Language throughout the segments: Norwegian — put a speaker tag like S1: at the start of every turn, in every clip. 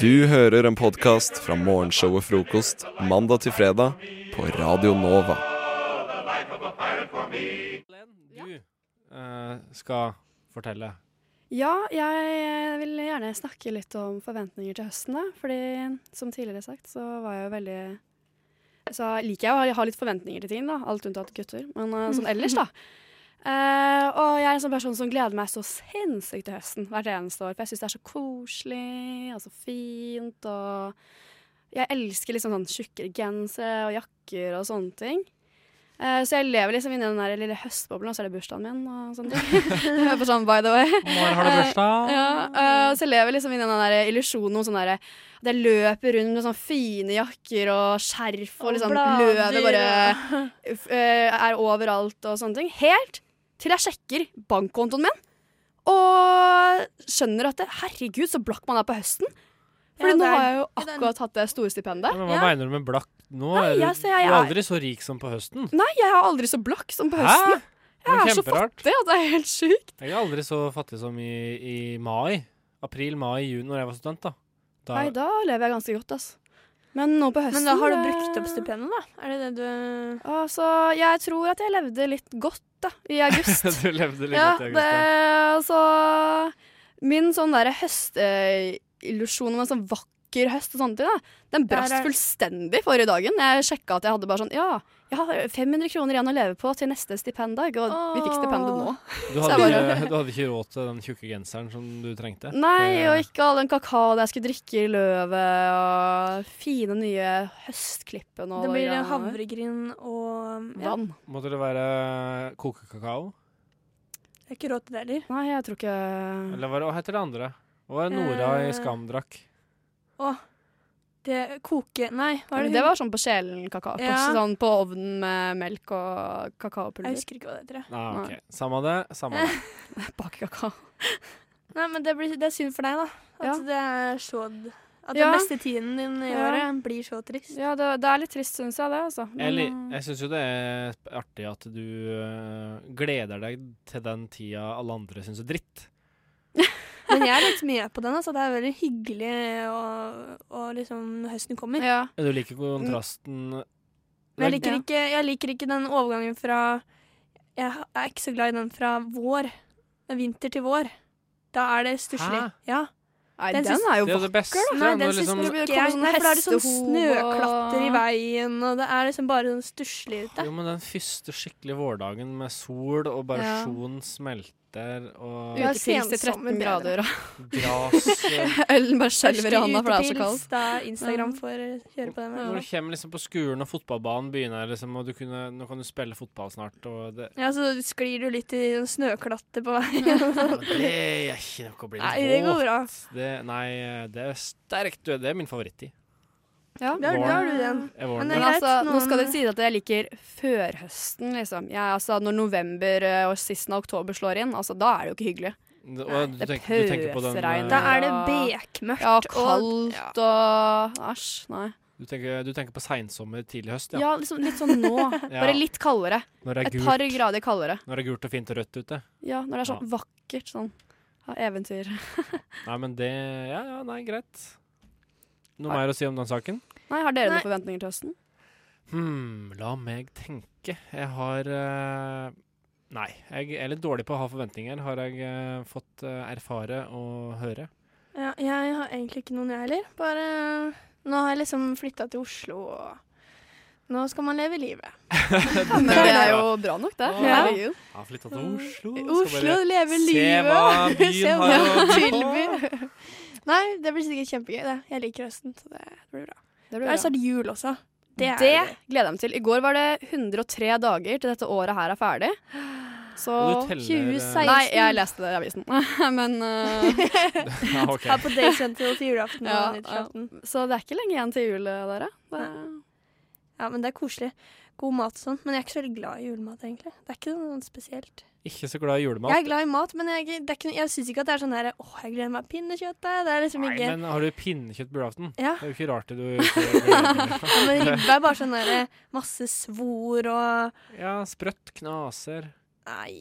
S1: Du hører en podkast fra morgenshow og frokost mandag til fredag på Radio Nova.
S2: Du eh, skal fortelle.
S3: Ja, jeg eh, vil gjerne snakke litt om forventninger til høsten, da. Fordi som tidligere sagt, så var jeg jo veldig Så liker jeg å ha litt forventninger til ting, da. Alt unntatt gutter. Men eh, sånn ellers, da. Eh, og jeg er en sånn person som gleder meg så sinnssykt til høsten hvert eneste år. For jeg syns det er så koselig og så fint og Jeg elsker liksom sånn tjukkere gensere og jakker og sånne ting. Eh, så jeg lever liksom inni den der lille høstboblen, og så er det bursdagen min og sånne ting. Bare sånn by the way.
S2: Når har du bursdag?
S3: Ja, øh, så jeg lever liksom i den der illusjonen om sånn der At jeg løper rundt med sånne fine jakker og skjerf og
S4: Og
S3: liksom
S4: blader,
S3: løvet bare øh, er overalt og sånne ting. Helt til jeg sjekker bankkontoen min og skjønner at det, herregud, så blakk man er på høsten. Fordi
S4: Ja, det
S3: nå
S4: er-
S3: har jeg jo
S4: det er-
S3: akkurat hatt det store stipendet.
S2: Men hva
S4: Ja.
S2: mener du med blakk nå?
S3: Nei,
S2: Er du,
S3: jeg ser-
S2: du
S3: jeg
S2: er
S3: er-
S2: aldri så rik som på høsten.
S3: Nei, jeg er aldri så blakk som på
S2: Hæ?
S3: høsten.
S2: Men
S3: Jeg er så
S2: kjemperart.
S3: Det, det er helt sjukt.
S2: Jeg er aldri så fattig som i, i mai. April, mai, juni, når jeg var student. da. da
S3: Nei, da lever jeg ganske godt, altså. Men nå på høsten
S4: Men da har du
S3: det-
S4: brukt opp stipendet, da? Er det det du
S3: Altså, jeg tror at jeg levde litt godt da, i august.
S2: du levde litt
S3: ja,
S2: godt i
S3: det,
S2: august. ja.
S3: altså, min sånn der høstillusjon om en sånn vakker høst og sånne ting, da, den brast
S4: Der er-
S3: fullstendig forrige dagen. Jeg sjekka at jeg hadde bare sånn, ja, jeg har 500 kroner igjen å leve på til neste stipenddag, og vi fikk stipendet nå.
S2: Du
S3: Så
S2: hadde,
S3: jeg
S2: ikke, du hadde ikke råd til den tjukke genseren som du trengte? eh,
S3: Nei,
S2: Det-
S3: og ikke all den kakaoen jeg skulle drikke i løvet, og fine nye høstklippen og
S4: Det
S3: de
S4: blir
S3: greiene der.
S4: havregryn og ja,
S3: Vann.
S2: Måtte det være kokekakao?
S4: Jeg har ikke råd til det heller.
S3: Nei, jeg tror ikke
S2: Eller hva hva heter det andre? Hva er Nora i
S4: Eh,
S2: Skam drakk?
S4: Det koke... Nei, hva
S3: Men
S4: er det
S3: det var sånn på kjelen kakao. På,
S4: Ja.
S3: sånn på ovnen med melk og
S4: Jeg
S3: kakaopulver.
S4: husker ikke hva det heter. jeg.
S2: Nei, Ah, ok. Samme det, samme det.
S3: Bakekakao.
S4: Nei, men det, blir, det er synd for deg, da. At
S3: Ja.
S4: det er så At
S3: Ja.
S4: den beste tiden din i
S3: Ja.
S4: året blir så trist.
S3: Ja, det, det er litt trist, syns jeg det, altså. Men,
S2: Jeg, li-
S3: eh,
S4: Mm.
S2: jeg syns jo det er sp- artig at du øh, gleder deg til den tida alle andre syns er dritt.
S4: Men jeg er litt med på den. altså Det er veldig hyggelig å- å liksom når høsten kommer.
S3: ja.
S2: Du liker kontrasten
S4: Mm. Men jeg
S2: Nei,
S4: liker, ikke, jeg liker ikke den overgangen fra Jeg er ikke så glad i den fra vår. Vinter til vår. Da er det stusslig.
S2: Hæ?
S4: Ja.
S3: Nei,
S4: Den
S3: den,
S4: syns-
S3: er jo
S2: Det er jo
S3: vakker.
S2: det beste.
S4: Nei,
S2: når
S4: den syns
S2: liksom,
S3: det blir-
S4: ikke
S3: kommer
S4: jeg.
S3: sånn
S4: Nei, for da er det sånn
S3: hestehov og-
S4: snøklatter i veien, og det er liksom bare sånn stusslig ute.
S2: jo, men den første skikkelig vårdagen med sol, og bare
S3: Ja.
S2: solen smelter, og
S4: Ja.
S3: Utepils til
S4: sensommer
S3: 13 grader,
S4: bedre.
S3: og
S2: gras øh,
S3: ølen bare skjelver i hånda, for det er så
S4: Utepils,
S3: kaldt.
S4: Da Instagram får kjøre på den.
S2: Når du kommer liksom på skolen og fotballbanen begynner, liksom, og du kunne, nå kan du spille fotball snart og det,
S4: Ja, så sklir du litt i en snøklatter på veien. sånn.
S2: Ja, det er ikke noe å bli
S4: Nei, det
S2: litt
S4: går
S2: våt.
S4: bra.
S2: Det, nei, det er sterkt. du, Det er min favorittid.
S3: Ja.
S4: Da
S2: Våren.
S4: har du den.
S2: Er våren.
S3: Men
S4: Men det er greit,
S3: altså, nå
S4: noen-
S3: skal det sies at jeg liker førhøsten, liksom. Jeg, altså, når november eh, og siden av oktober slår inn, altså, da er det jo ikke hyggelig.
S2: Og du,
S3: det
S2: tenker, du tenker på den
S3: pøsregner.
S4: Da
S2: eh,
S4: er det
S3: Ja.
S4: bekmørkt.
S3: Ja,
S4: Og,
S3: kaldt og Æsj, nei.
S2: du, tenker, du tenker på seinsommer, tidlig høst, ja.
S3: Ja, liksom, litt sånn nå.
S2: Ja,
S3: Bare litt kaldere.
S2: Når det er
S3: Et
S2: gult,
S3: par grader kaldere.
S2: når det er gult og fint og rødt ute.
S3: Ja, når det er sånn vakkert sånn. Ja, eventyr.
S2: Nei, men det Ja, ja, nei, greit. Noe mer å si om den saken?
S3: Nei, har dere
S4: Nei.
S3: noen forventninger til høsten?
S2: Hm, la meg tenke. Jeg har eh, Nei, jeg er litt dårlig på å ha forventninger, har jeg eh, fått eh, erfare og høre.
S4: ja, jeg har egentlig ikke noen, jeg heller. Bare Nå har jeg liksom flytta til Oslo, og nå skal man leve livet.
S3: Ja, men det er jo bra nok, det.
S2: Ja.
S3: Herregud.
S2: Jeg har flytta til Oslo. skal
S4: Oslo,
S2: bare
S4: leve livet! Se
S2: Se hva byen
S4: hva
S2: har å by på.
S4: tilby. Nei, det blir sikkert kjempegøy. Det. Jeg liker høsten, så det blir bra.
S3: Det
S4: Det
S3: blir
S4: er
S3: bra.
S4: snart jul også. Det er
S3: Det
S4: det.
S3: gleder jeg meg til. I går var det 103 dager til dette året her er ferdig. Så
S2: Og du teller, eh,
S4: 2016.
S3: Nei, jeg leste det i avisen. Men eh,
S2: Ja, ok.
S4: Her på Daysentral til julaften
S3: Ja,
S4: og nyttårsaften.
S3: Så det er ikke lenge igjen til jul, eh, dere. Det
S4: Ja, men det er koselig. God mat og sånn. Men jeg er ikke så veldig glad i julemat, egentlig. Det er ikke noe spesielt.
S2: Ikke så glad i julemat.
S4: Jeg er glad i mat, men jeg, det er ikke, jeg syns ikke at det er sånn her Åh, jeg gleder meg til pinnekjøttet. Det er liksom
S2: Nei,
S4: ikke
S2: men har du pinnekjøtt på julaften?
S4: Ja.
S2: Det er jo ikke rart det du ikke gleder
S4: ja,
S2: deg til.
S4: men ribbe er bare sånn der masse eh, svor og
S2: Ja, sprøtt, knaser
S4: Nei,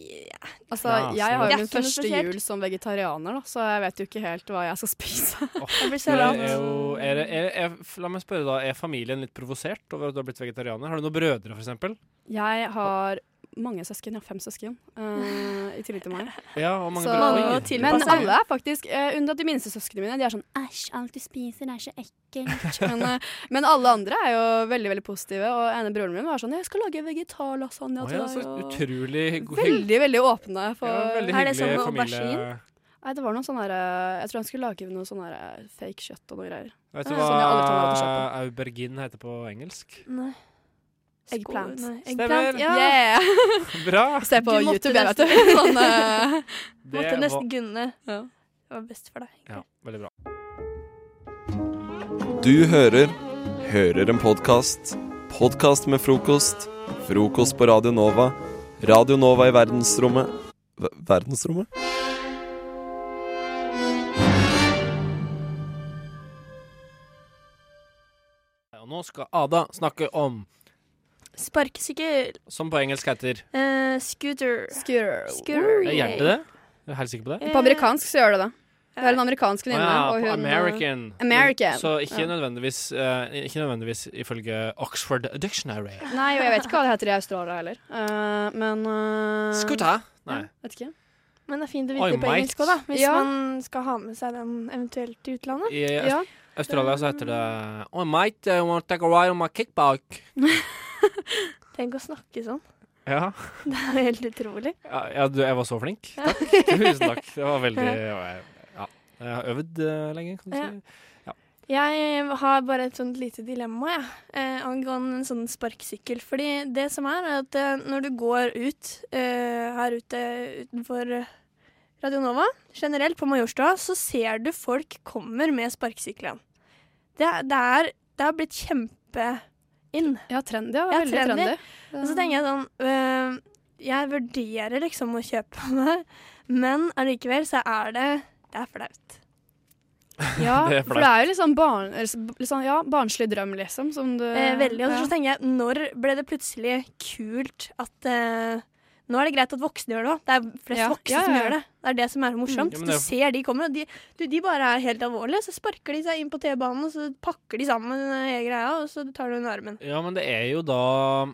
S3: Altså,
S2: Ja,
S3: jeg har
S4: Det er
S3: jo min
S4: ikke noe
S3: første
S4: spesielt.
S3: jul som vegetarianer, da, så jeg vet jo ikke helt hva jeg skal spise.
S4: jeg blir så
S2: Men
S4: lat.
S2: Er jo, er, det- er, er, la meg spørre da, er familien litt provosert over at du har blitt vegetarianer? Har du noen brødre, for eksempel?
S3: Jeg har mange søsken, jeg har fem søsken, eh, i tillegg til meg.
S2: Ja, og mange
S3: Så-
S4: Mange å
S2: brødre. Oi.
S4: tilpasse.
S3: Men alle er faktisk, eh, unntatt de minste søsknene mine, de er sånn æsj, alt du spiser er så ekkelt. Men, eh, men alle andre er jo veldig veldig positive, og ene broren min var sånn jeg skal lage vegetarlasagne
S2: Å
S3: til
S2: ja, så
S3: deg. Og...
S2: utrolig god
S3: Veldig, veldig åpne for
S2: ja,
S4: Er det
S2: veldig hyggelig
S4: sånn med
S2: familie.
S3: Nei, det var noen sånne her, eh, Jeg tror han skulle lage noe sånn her eh, fake kjøtt og noe greier.
S2: Vet du
S3: Det er sånn jeg aldri tar meg
S2: hva
S3: til
S2: aubergine heter på engelsk?
S4: Nei. Skål,
S3: Eggplant.
S4: nei.
S2: Stemmer.
S4: Eggplant, ja.
S3: Yeah!
S2: Bra!
S3: Se på
S4: Du måtte
S3: YouTube, jeg, vet
S4: nesten-
S3: du. Sånn, eh,
S4: Måtte
S2: var-
S4: nesten gunne.
S3: ja.
S4: Det var best for deg. egentlig.
S2: Ja, veldig bra.
S1: Du hører Hører en podkast. Podkast med frokost. Frokost på Radio Nova. Radio Nova i verdensrommet Ver- Verdensrommet?
S2: Og nå skal Ada snakke om,
S4: Sparkesykkel.
S2: som på engelsk heter
S4: Eh, scooter.
S3: Skurr.
S4: Scurry.
S2: Jeg Gjør det det? Jeg er helt sikker på det.
S3: Eh, På amerikansk så gjør det det. Det er en amerikansk
S2: Å
S3: venninne.
S2: ja,
S3: og
S2: på
S3: hun, eh,
S2: American.
S3: American.
S2: Så ikke
S3: Ja.
S2: nødvendigvis eh, Ikke nødvendigvis ifølge Oxford Dictionary.
S3: Nei, og jeg vet ikke hva det heter i Australia heller. Eh, men eh,
S2: Scooter? Nei.
S3: Ja, vet ikke.
S4: Men det er fint å
S2: Oi,
S4: vite på
S2: mate.
S4: engelsk òg, da. Hvis
S3: Ja.
S4: man skal ha med seg den eventuelt til utlandet.
S2: I
S3: Ja.
S2: Australia så heter det Oh, mate, I want to take a ride on my kickbike.
S4: Tenk å snakke sånn.
S2: Ja.
S4: Det er jo helt utrolig.
S2: ja, ja, du, jeg var så flink. Takk. Tusen takk. Det var veldig Ja. Jeg har øvd eh, lenge, kan du
S4: Ja.
S2: si.
S4: Jeg har bare et sånt lite dilemma ja. eh, angående en sånn sparkesykkel. Fordi det som er, er at eh, når du går ut eh, her ute utenfor eh, Radionova, generelt på Majorstua, så ser du folk kommer med sparkesyklene. Det, er- det, er- det har blitt kjempe-in.
S3: Ja, trendy. Ja,
S4: Ja,
S3: veldig trendy.
S4: trendy. Og så tenker jeg sånn øh, Jeg vurderer liksom å kjøpe meg, men allikevel så er det Det er flaut.
S3: ja,
S2: Det er
S3: for det er jo litt sånn barn, eller så- litt sånn, ja, barnslig drøm, liksom. Som du,
S4: Eh, veldig. Og så
S3: ja.
S4: tenker jeg, når ble det plutselig kult at eh, nå er det greit at voksne gjør det òg. Det er flest
S3: Ja,
S4: voksne
S3: ja, ja,
S4: som
S3: ja.
S4: gjør det. Det er det som er så morsomt.
S2: Mm. Ja, men det er-
S4: Du ser de kommer, og de, du, de bare er helt alvorlige. Så sparker de seg inn på T-banen, og så pakker de sammen eh, hele greia, og så tar du under armen.
S2: Ja, men det er jo da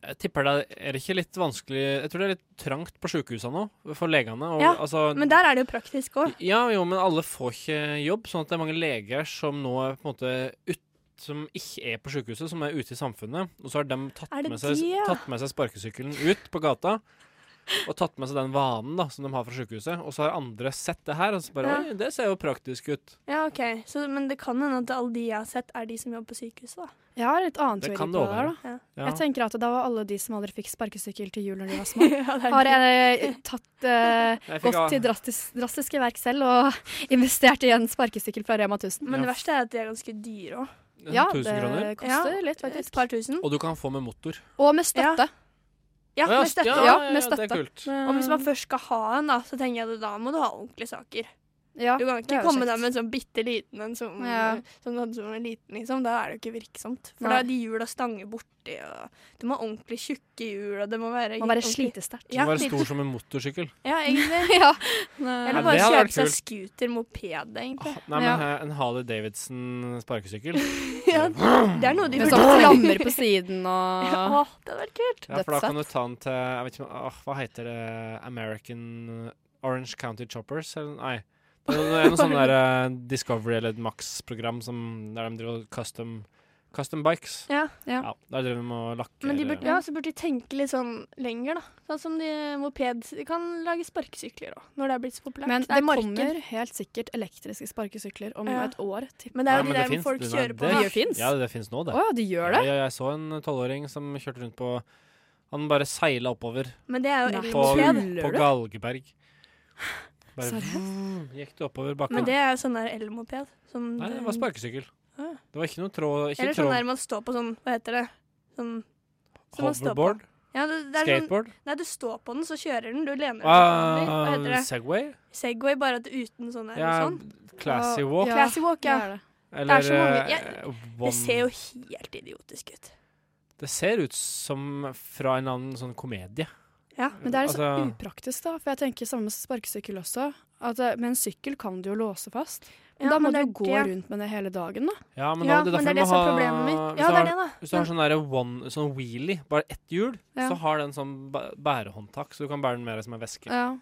S2: Jeg tipper det er det ikke litt vanskelig Jeg tror det er litt trangt på sjukehusene nå, for legene. Og,
S4: Ja,
S2: altså,
S4: Men der er det jo praktisk òg.
S2: Ja, jo, men alle får ikke jobb, sånn at det er mange leger som nå er på en måte ut, som ikke er på sykehuset, som er ute i samfunnet. Og så har de tatt,
S4: Er det
S2: med seg,
S4: de, ja?
S2: tatt med seg sparkesykkelen ut på gata. Og tatt med seg den vanen da, som de har fra sykehuset. Og så har andre sett det her, og så bare
S4: Ja.
S2: Oi, det ser jo praktisk ut.
S4: Ja, OK. Så, men det kan hende at alle de jeg har sett, er de som jobber på sykehuset, da.
S3: Jeg har litt annen
S2: Det
S3: teori
S2: kan
S3: på
S2: det
S3: det der, da.
S2: Ja.
S3: Jeg tenker at det var alle de som aldri fikk sparkesykkel til jul når de var små.
S4: Ja, det er
S3: Har
S4: det.
S3: jeg tatt eh,
S2: Jeg fikk
S3: gått til drastis, drastiske verk selv og investert i en sparkesykkel fra Rema 1000.
S4: Men
S2: Ja.
S4: det verste er at de er ganske dyre òg.
S2: av-
S3: Ja,
S2: 1000 kroner.
S3: det koster
S4: Ja,
S3: litt,
S4: Et
S3: faktisk.
S4: par tusen.
S2: Og du kan få med motor.
S3: Og med støtte.
S4: Ja,
S2: Å, ja,
S4: med støtte.
S2: Ja,
S3: Ja,
S2: ja,
S3: med
S2: ja, det er
S3: støtte.
S2: kult.
S4: Og hvis man først skal ha en, da, så tenker jeg at da må du ha ordentlige saker.
S3: Ja,
S4: Du kan
S3: det er
S4: ikke
S3: jo kjekt.
S4: komme deg med en sånn bitte liten en som,
S3: Ja.
S4: som, du hadde som en liten, liksom. Da er det jo ikke virksomt. For
S3: Nei.
S4: da er de hjula stanger borti, og du må ha ordentlig tjukke hjul, og det må være
S3: Må være
S4: ordentlig-
S3: slitesterkt.
S2: Den
S4: Ja,
S2: var
S4: litt-
S2: stor som en motorsykkel.
S4: ja, egentlig.
S3: ja.
S4: Eller
S2: det
S4: bare
S2: hadde vært
S4: kjøpe seg
S2: kult.
S4: scooter, moped, egentlig.
S2: Nei, men
S3: Ja.
S2: eh, en Harley Davidson sparkesykkel.
S4: Ja, det er noe de
S3: Med
S4: burde-
S3: sånn flammer på siden
S4: Ja,
S3: og
S4: å, det hadde vært kult.
S2: Ja, for da
S3: Dødsfett.
S2: kan du ta den til jeg vet ikke, om- åh, Hva heter det? American eh, Orange County Choppers? Eller, nei. Det er noe- det er noe sånn der eh, Discovery eller et Max-program som- der de driver og custom, custom bikes.
S4: Ja.
S3: Ja.
S2: Ja, der driver de og lakker
S4: Men de burde, ja,
S2: ja.
S4: så burde de tenke litt sånn lenger, da. Sånn som de moped De kan lage sparkesykler òg, når det er blitt så populært.
S3: Men
S4: er
S3: det
S4: marked.
S3: kommer helt sikkert elektriske sparkesykler om
S4: Ja.
S3: et år. tipper
S4: Men det er jo
S2: Nei,
S4: de
S2: men det
S4: der hvor
S2: finnes,
S4: folk
S2: det-
S4: kjører på.
S2: det-
S4: da.
S3: jeg. Det fins? Å
S2: det finnes nå, det.
S3: ja, de gjør det?
S2: Ja, ja, jeg så en tolvåring som kjørte rundt på Han bare seila oppover
S4: Men det er jo
S3: Nei.
S2: på,
S4: elmoped.
S3: Tuller
S2: på
S3: du?
S2: Galgeberg. Bare
S3: Seriøst?
S2: vroom, gikk det oppover
S4: Men
S2: bakken.
S4: det er jo sånn der elmoped. Som
S2: Nei, det var sparkesykkel.
S4: Ah.
S2: Det var ikke noe tråd. Ikke
S4: Eller sånn
S2: tråd
S4: der man står på sånn Hva heter det? Sånn som man står på.
S2: hoverboard?
S4: Ja, det, det er sånn,
S2: Skateboard?
S4: nei, du står på den, så kjører den. Du lener deg
S2: Ah,
S4: bakover. Hva heter det?
S2: Segway?
S4: Segway, bare at uten sånn der.
S2: Ja,
S4: Sånn.
S2: classy
S3: Ja,
S2: walk.
S3: ja,
S4: Classy walk,
S3: det
S4: ja.
S3: er det.
S2: Eller
S4: så mange- ja,
S2: eh, one-
S4: Det ser jo helt idiotisk ut.
S2: Det ser ut som fra en eller annen sånn komedie.
S4: Ja,
S3: Men det er litt så
S2: Altså-
S3: upraktisk, da. For jeg tenker samme med sparkesykkel også. At, eh, med en sykkel kan du jo låse fast. Men
S4: Ja,
S3: da må
S4: men
S3: du
S4: det
S3: jo
S4: er
S3: gå
S4: det-
S3: rundt med det hele dagen, da.
S2: Ja, men,
S4: ja,
S2: da, det er
S4: men
S2: derfor
S4: det er
S2: du
S4: det
S2: må
S4: som
S2: ha-
S4: er problemet mitt.
S2: hvis
S4: Ja, det
S2: du har-
S4: er det, da.
S2: Hvis du har sånn der one, sånn wheelie, bare ett hjul,
S3: Ja.
S2: så har den sånn bæ- bærehåndtak, så du kan bære den med deg som en veske.
S3: Ja.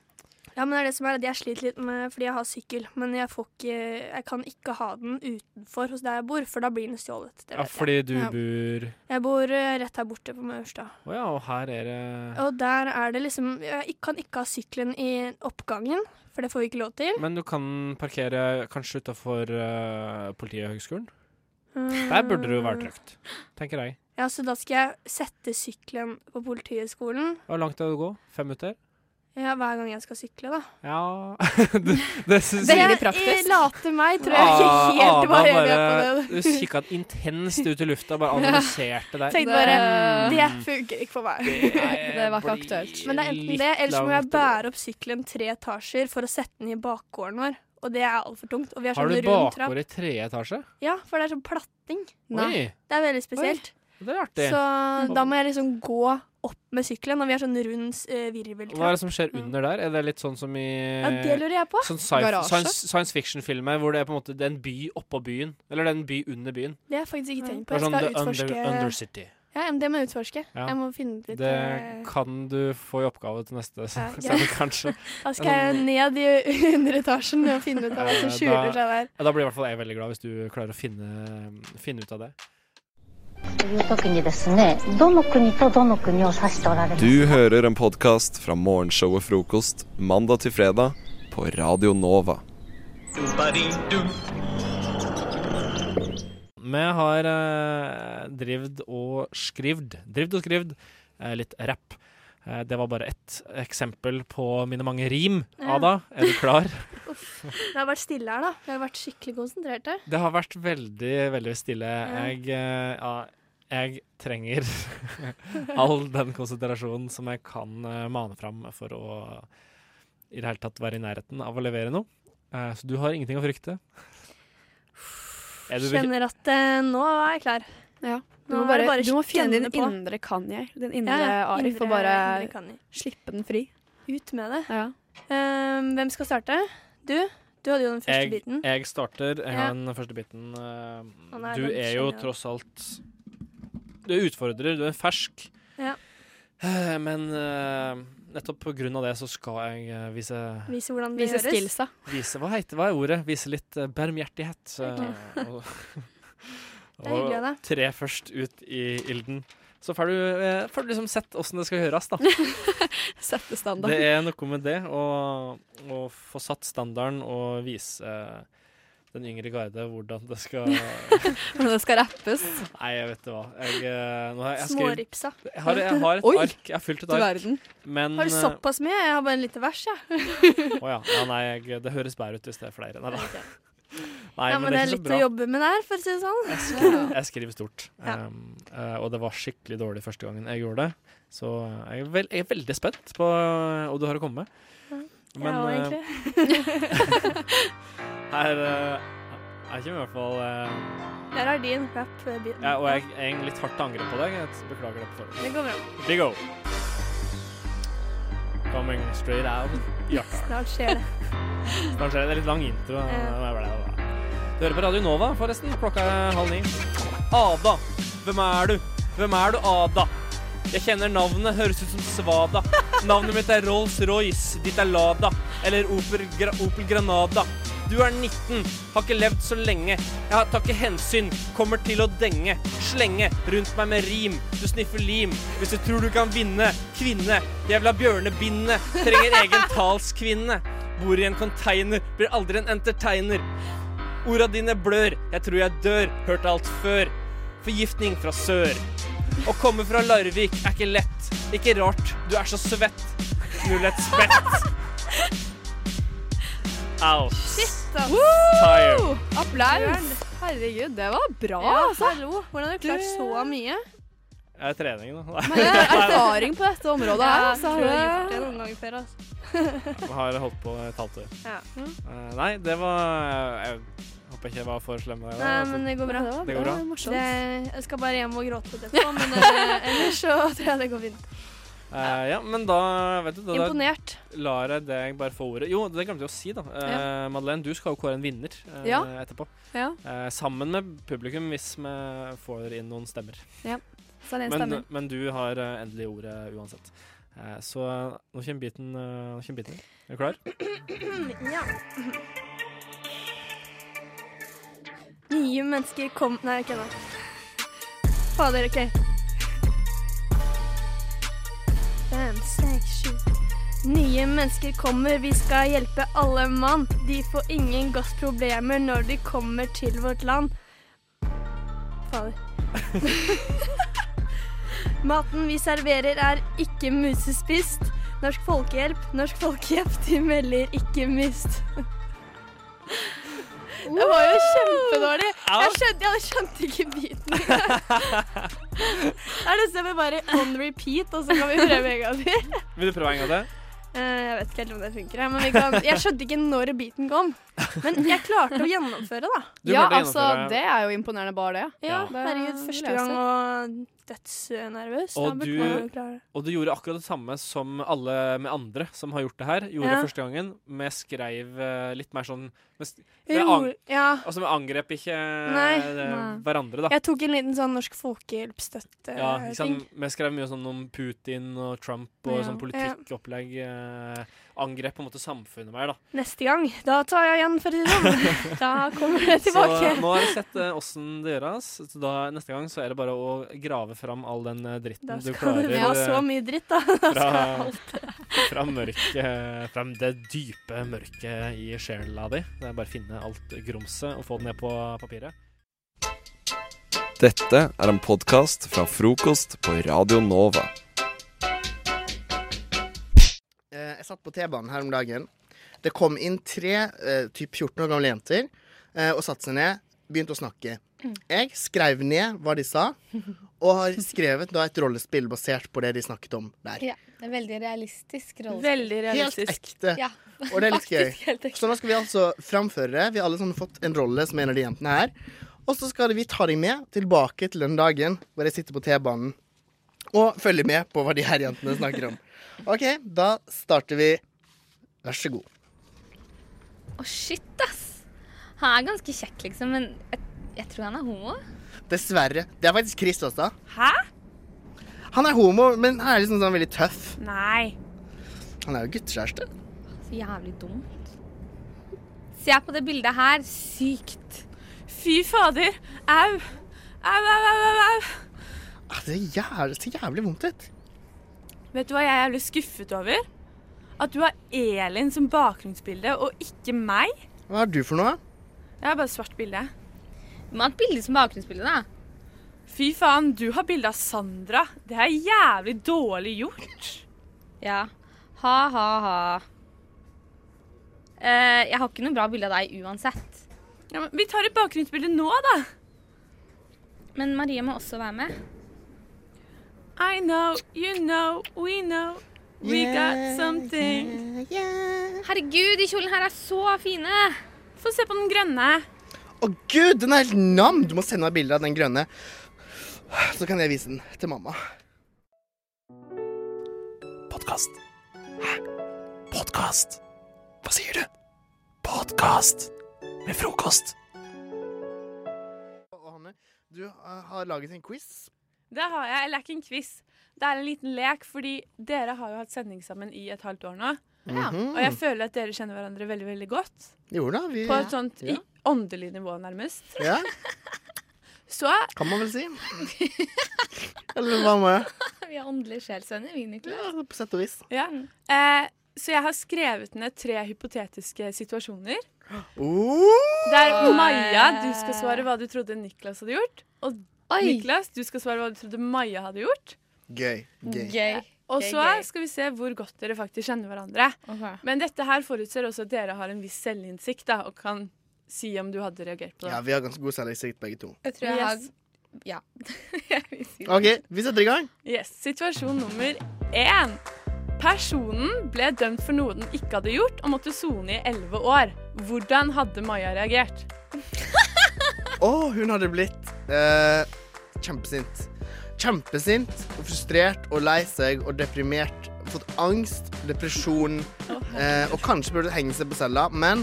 S4: Ja, men det er det som er at jeg sliter litt med fordi jeg har sykkel, men jeg, får ikke, jeg kan ikke ha den utenfor hos der jeg bor, for da blir den stjålet. Det
S2: Ja,
S4: vet jeg.
S2: fordi du
S3: Ja.
S2: bor
S4: jeg bor eh, rett her borte på Maurstad,
S2: Å ja, og her er det
S4: og der er det liksom Jeg ikk- kan ikke ha sykkelen i oppgangen, for det får vi ikke lov til.
S2: Men du kan parkere kanskje utafor uh, Politihøgskolen? Der burde det jo være trygt, tenker jeg.
S4: Ja, så da skal jeg sette sykkelen på Politihøgskolen
S2: Hvor langt er det å gå? Fem minutter?
S4: ja, hver gang jeg skal sykle, da.
S2: Ja Det, det syns
S3: Det
S2: jeg
S3: er
S4: Jeg-
S3: veldig praktisk.
S4: Jeg later meg, tror jeg ikke
S2: Ah,
S4: helt
S2: Ada
S4: var enig
S2: bare-
S4: på det.
S2: Du kikka intenst ut i lufta, bare analyserte der.
S4: Tenkte bare
S2: Det-
S4: Det funker ikke for meg.
S3: Nei, Mm. det var ikke
S2: blir
S3: aktuelt.
S4: Men det er enten
S2: litt
S4: det, eller så må jeg
S2: langt å gå.
S4: bære opp sykkelen tre etasjer for å sette den i bakgården vår. Og det er altfor tungt. Og vi har
S2: Har
S4: sånn
S2: du
S4: rund trapp.
S2: bakgård i tredje etasje?
S4: Ja, for det er sånn platting.
S3: Nei.
S2: Oi,
S4: Det er veldig spesielt.
S2: det er artig.
S4: Så da må jeg liksom gå opp med sykkelen, og vi har sånn rund eh,
S2: Hva er
S4: virveltrapp.
S2: det som skjer under der? Er det litt sånn som i
S4: Mm. Ja, det lurer jeg på.
S2: Sånn sci
S3: Garasje?
S2: science, science fiction-filmer hvor det er på en måte det er en by oppå byen. Eller det er en by under byen.
S4: Det har jeg faktisk
S3: Mm.
S4: ikke tenkt på.
S2: Det
S4: Jeg
S2: er sånn
S4: skal
S2: the under,
S4: utforske
S2: Undercity.
S4: Ja, men det må jeg utforske.
S2: Ja.
S4: Jeg må finne ut litt
S2: Det
S4: eh,
S2: kan du få i oppgave til neste
S4: Ja,
S2: sesong,
S4: greit.
S2: kanskje.
S4: Da skal jeg ned i underetasjen og finne ut av hva som
S2: Eh, da-
S4: skjuler seg der.
S2: Ja, Da blir i hvert fall jeg veldig glad hvis du klarer å finne, finne ut av det.
S5: という時にですねどの国とどの国を指しておられます
S1: Du hører en podkast fra morgenshowet Frokost mandag til fredag på Radio Nova.
S2: Vi har eh, drivd og skrivd Drivd og skrivd eh, litt rapp. Eh, det var bare ett eksempel på mine mange rim.
S4: Ja.
S2: Ada, er du klar?
S4: Det har vært stille her, da. Vi har vært skikkelig konsentrerte.
S2: Det har vært veldig, veldig stille. Jeg, eh, ja, jeg trenger all den konsentrasjonen som jeg kan eh, mane fram for å i det hele tatt være i nærheten av å levere noe. Eh, så du har ingenting å frykte. Er du,
S4: Kjenner at eh, nå er jeg klar.
S3: Ja. Du må,
S4: Nå er
S3: bare,
S4: det bare
S3: du må finne din
S4: gønne på.
S3: indre Kanye, din
S4: Ja,
S3: indre
S4: ja,
S3: Arif,
S4: indre-
S3: og bare
S4: indre kan jeg.
S3: slippe den fri.
S4: Ut med det.
S3: Ja.
S4: Ehm, hvem skal starte? Du? Du hadde jo den første
S2: jeg,
S4: biten.
S2: jeg starter. Jeg har
S4: Ja.
S2: den første biten. Eh,
S4: Han er
S2: Du
S4: den
S2: er jo
S4: kjenner jeg.
S2: tross alt Du er utfordrer, du er fersk.
S4: Ja.
S2: Eh, Men eh, nettopp på grunn av det så skal jeg eh, vise
S4: Vise hvordan det
S3: Vise
S4: gjøres.
S3: skillsa.
S2: Vise, hva heter hva er ordet? Vise litt eh, barmhjertighet. eh, og-
S4: Det er hyggelig av
S2: og
S4: deg.
S2: tre først ut i ilden. Så får du, eh, får du liksom sett åssen det skal høres, da.
S3: Sette standard.
S2: Det er noe med det å, å få satt standarden og vise eh, den yngre garde hvordan det skal Nei,
S3: Men det skal rappes.
S2: jeg vet du hva. Jeg, eh, nå har jeg, jeg, skrevet-
S4: Småripsa.
S2: jeg, har, jeg har et
S3: Oi!
S2: ark. Jeg har fylt et
S3: Du
S2: ark.
S3: verden.
S2: Men
S4: Har du
S2: eh,
S4: såpass mye? Jeg har bare en liten vers, jeg.
S2: Å ja. ja. Nei, jeg, det høres bedre ut hvis det er flere. Nei, da. Nei,
S4: Ja, men det er
S2: ikke så
S4: litt
S2: bra.
S4: å jobbe med der, for å si det sånn.
S2: Jeg skriver, jeg skriver stort.
S4: Ja.
S2: Um, eh, og det var skikkelig dårlig første gangen jeg gjorde det. Så eh, jeg er, vel- jeg er veldig spent på eh, hva du har å komme med.
S4: ja, og
S2: eh,
S4: egentlig.
S2: her eh, Jeg kommer i hvert fall eh,
S4: Der har din rap-bit.
S2: ja, Og jeg jeg er litt hardt til angrep på deg. Jeg beklager det på forhånd.
S4: Det går bra.
S2: Big O. Coming straight out. Ja.
S4: Snart skjer det.
S2: Kanskje det er litt lang intro. eh,
S4: Ja.
S2: Du hører på Radio Nova, forresten. Klokka er halv ni. Ada, hvem er du? Hvem er du, Ada? Jeg kjenner navnet, høres ut som Svada. Navnet mitt er Rolls-Royce, ditt er Lada. Eller Opel, Gra Opel Granada. Du er 19, har ikke levd så lenge. Jeg har- tar ikke hensyn, kommer til å denge. Slenge rundt meg med rim, du sniffer lim. Hvis du tror du kan vinne, kvinne. Jævla bjørnebinde, trenger egen talskvinne. Bor i en container, blir aldri en entertainer. Orda dine blør, jeg tror jeg dør, hørt alt før. Forgiftning fra sør. Å komme fra Larvik er ikke lett. Ikke rart, du er så svett. Knull et spett. Out. Tired.
S3: Applaus! Herregud, det var bra.
S4: Ja,
S3: altså.
S4: hallo. Hvordan har du klart så mye?
S2: Jeg er trening, da.
S3: Men det er erfaring på dette området her.
S4: Ja, jeg
S3: Altså.
S4: tror jeg har gjort det noen ganger før, altså.
S2: Jeg har holdt på et halvt år.
S4: Ja.
S2: Eh, Nei, det var Jeg håper ikke jeg var for slem. der, da.
S4: Nei, men det går bra.
S3: var,
S2: Det går bra.
S3: var
S4: Så
S3: morsomt.
S4: Det, jeg skal bare hjem og gråte litt etterpå, men eh, ellers så tror jeg det går fint.
S2: Eh, ja, men da vet du, da, da
S4: Imponert.
S2: lar jeg deg bare få ordet. Jo, det glemte jeg å si, da. Eh, Madeleine, du skal jo kåre en vinner eh,
S3: Ja.
S2: etterpå.
S3: Ja.
S2: Eh, sammen med publikum, hvis vi får inn noen stemmer.
S3: Så det
S2: Men,
S3: stemmer.
S2: men du har eh, endelig ordet uansett. Eh, så eh, nå kommer biten. eh, nå kommer biten. Er du klar?
S4: Mm, Ja. Nye mennesker kom Nei, ikke ennå. Fader, OK. Fem, seks, sju. Nye mennesker kommer, vi skal hjelpe alle mann. De får ingen gassproblemer når de kommer til vårt land. Fader. Maten vi serverer er ikke musespist. Norsk Folkehjelp, Norsk Folkehjelp, de melder ikke mist. Det var jo kjempedårlig. Jeg skjønte, jeg skjønte ikke biten. Det er det som vi bare on repeat, og så kan vi prøve en gang til.
S2: Vil du prøve en gang til?
S4: Eh, Jeg vet ikke helt om det funker, jeg, men
S2: eh,
S4: vi kan, jeg skjønte ikke når biten kom. Men jeg klarte å gjennomføre, da.
S2: Du eh,
S3: ja,
S2: klarte å
S3: altså,
S2: gjennomføre-
S3: det er jo imponerende bare det.
S4: Ja,
S2: Ja.
S4: herregud, første gang og dødsnervøs. Da
S2: Og
S4: burde
S2: du-
S4: man jo klare det.
S2: Og du gjorde akkurat det samme som alle med andre som har gjort det her, gjorde
S4: Ja.
S2: første gangen. Vi skreiv eh, litt mer sånn vi sk- vi ang
S4: Ro- Ja.
S2: Altså, vi angrep ikke eh,
S4: Nei.
S2: det-
S3: Nei.
S2: hverandre, da.
S4: Jeg tok en liten sånn norsk folkehjelpstøtte-ting.
S2: Ja, ikke sant? Vi skrev mye sånn om Putin og Trump og
S3: Ja.
S2: sånn politikkopplegg. eh, angrep på en måte samfunnet mer, da.
S4: Neste gang, da tar jeg igjen for å si det sånn. Da kommer det tilbake.
S2: Så nå har jeg sett eh, åssen det gjøres. Så da, neste gang så er det bare å grave fram all den eh, dritten
S4: Da
S2: du
S4: skal
S2: klarer
S4: det være så
S2: eh,
S4: mye dritt, da. da skal
S2: fra,
S4: alt.
S2: fra mørket Fra det dype mørket i sjela di. Det er bare å finne alt grumset og få det ned på papiret.
S1: Dette er en podkast fra frokost på Radio Nova.
S6: Eh, Jeg satt på T-banen her om dagen. Det kom inn tre eh, typ 14 år gamle jenter eh, og satte seg ned, begynte å snakke. Jeg skrev ned hva de sa, og har skrevet da et rollespill basert på det de snakket om der.
S7: Ja, det er veldig realistisk rolle.
S4: Veldig
S6: Helt
S4: realistisk.
S6: ekte.
S7: Ja.
S6: Og det er litt gøy.
S7: Faktisk helt ekte.
S6: Så nå skal vi altså framføre det. Vi har alle sammen fått en rolle som en av de jentene her. Og så skal vi ta deg med tilbake til den dagen hvor jeg sitter på T-banen og følger med på hva de her jentene snakker om. OK, da starter vi. Vær så god.
S7: Å, shit, ass! Han er ganske kjekk, liksom, men jeg, jeg tror han er homo.
S6: Dessverre. Det er faktisk Chris også.
S8: Hæ?
S6: Han er homo, men han er liksom sånn veldig tøff.
S8: Nei.
S6: Han er jo guttekjæreste.
S7: Så jævlig dumt. Se på det bildet her. Sykt.
S8: Fy fader. Au. Au, au, au, au, au.
S6: Ah, Det er jævlig, så jævlig vondt ut.
S8: Vet du hva jeg er jævlig skuffet over? At du har Elin som bakgrunnsbilde, og ikke meg.
S6: Hva er du for noe?
S8: Jeg har bare svart bilde.
S7: Du må ha et bilde som bakgrunnsbilde, da.
S8: Fy faen, du har bilde av Sandra. Det er jævlig dårlig gjort.
S7: Ja. Ha, ha, ha. Eh, jeg har ikke noe bra bilde av deg uansett.
S8: Ja, men vi tar et bakgrunnsbilde nå, da.
S7: Men Marie må også være med.
S8: I know, you know, we know. We got something.
S7: Herregud, de kjolene her er så fine!
S8: Få se på den grønne.
S6: Å gud, den er helt nam! Du må sende meg bilder av den grønne. Så kan jeg vise den til mamma.
S1: Podkast. Hæ? Podkast? Hva sier du? Podkast med frokost.
S6: Og Hanne, du eh, har laget en quiz.
S8: Det har jeg. Eller det er ikke en quiz. Det er en liten lek, fordi dere har jo hatt sending sammen i et halvt år nå.
S6: Mhm.
S8: Og jeg føler at dere kjenner hverandre veldig veldig godt.
S6: Jo da, vi
S8: På et sånt i
S6: Ja.
S8: åndelig nivå, nærmest.
S6: Ja,
S8: Så
S6: kan man vel si. Eller hva med
S7: Vi er åndelige sjelsvenner, vi, Mm. Niklas.
S6: ja, På sett og vis.
S8: ja. Eh, så jeg har skrevet ned tre hypotetiske situasjoner.
S6: Oh!
S8: Der Maja, du skal svare hva du trodde Niklas hadde gjort. Og
S7: Oi!
S8: Niklas, du skal svare hva du trodde Maja hadde gjort.
S6: Gøy. Gøy.
S7: Gøy.
S8: Og
S7: Gøy,
S8: så
S7: gøy.
S8: skal vi se hvor godt dere faktisk kjenner hverandre. Men dette her forutser også at dere har en viss selvinnsikt da, og kan si om du hadde reagert på det.
S6: Ja, vi har ganske god selvinnsikt begge to.
S7: Jeg tror jeg har
S8: Yes.
S7: Ja. Jeg vil si det.
S6: OK, vi setter i gang.
S8: Yes, Situasjon nummer én. Personen ble dømt for noe den ikke hadde gjort, og måtte sone i elleve år. Hvordan hadde Maja reagert?
S6: Å, hun hadde blitt eh, kjempesint. kjempesint og frustrert og lei seg og deprimert. Fått angst, depresjon eh, og kanskje burde henge seg på cella. Men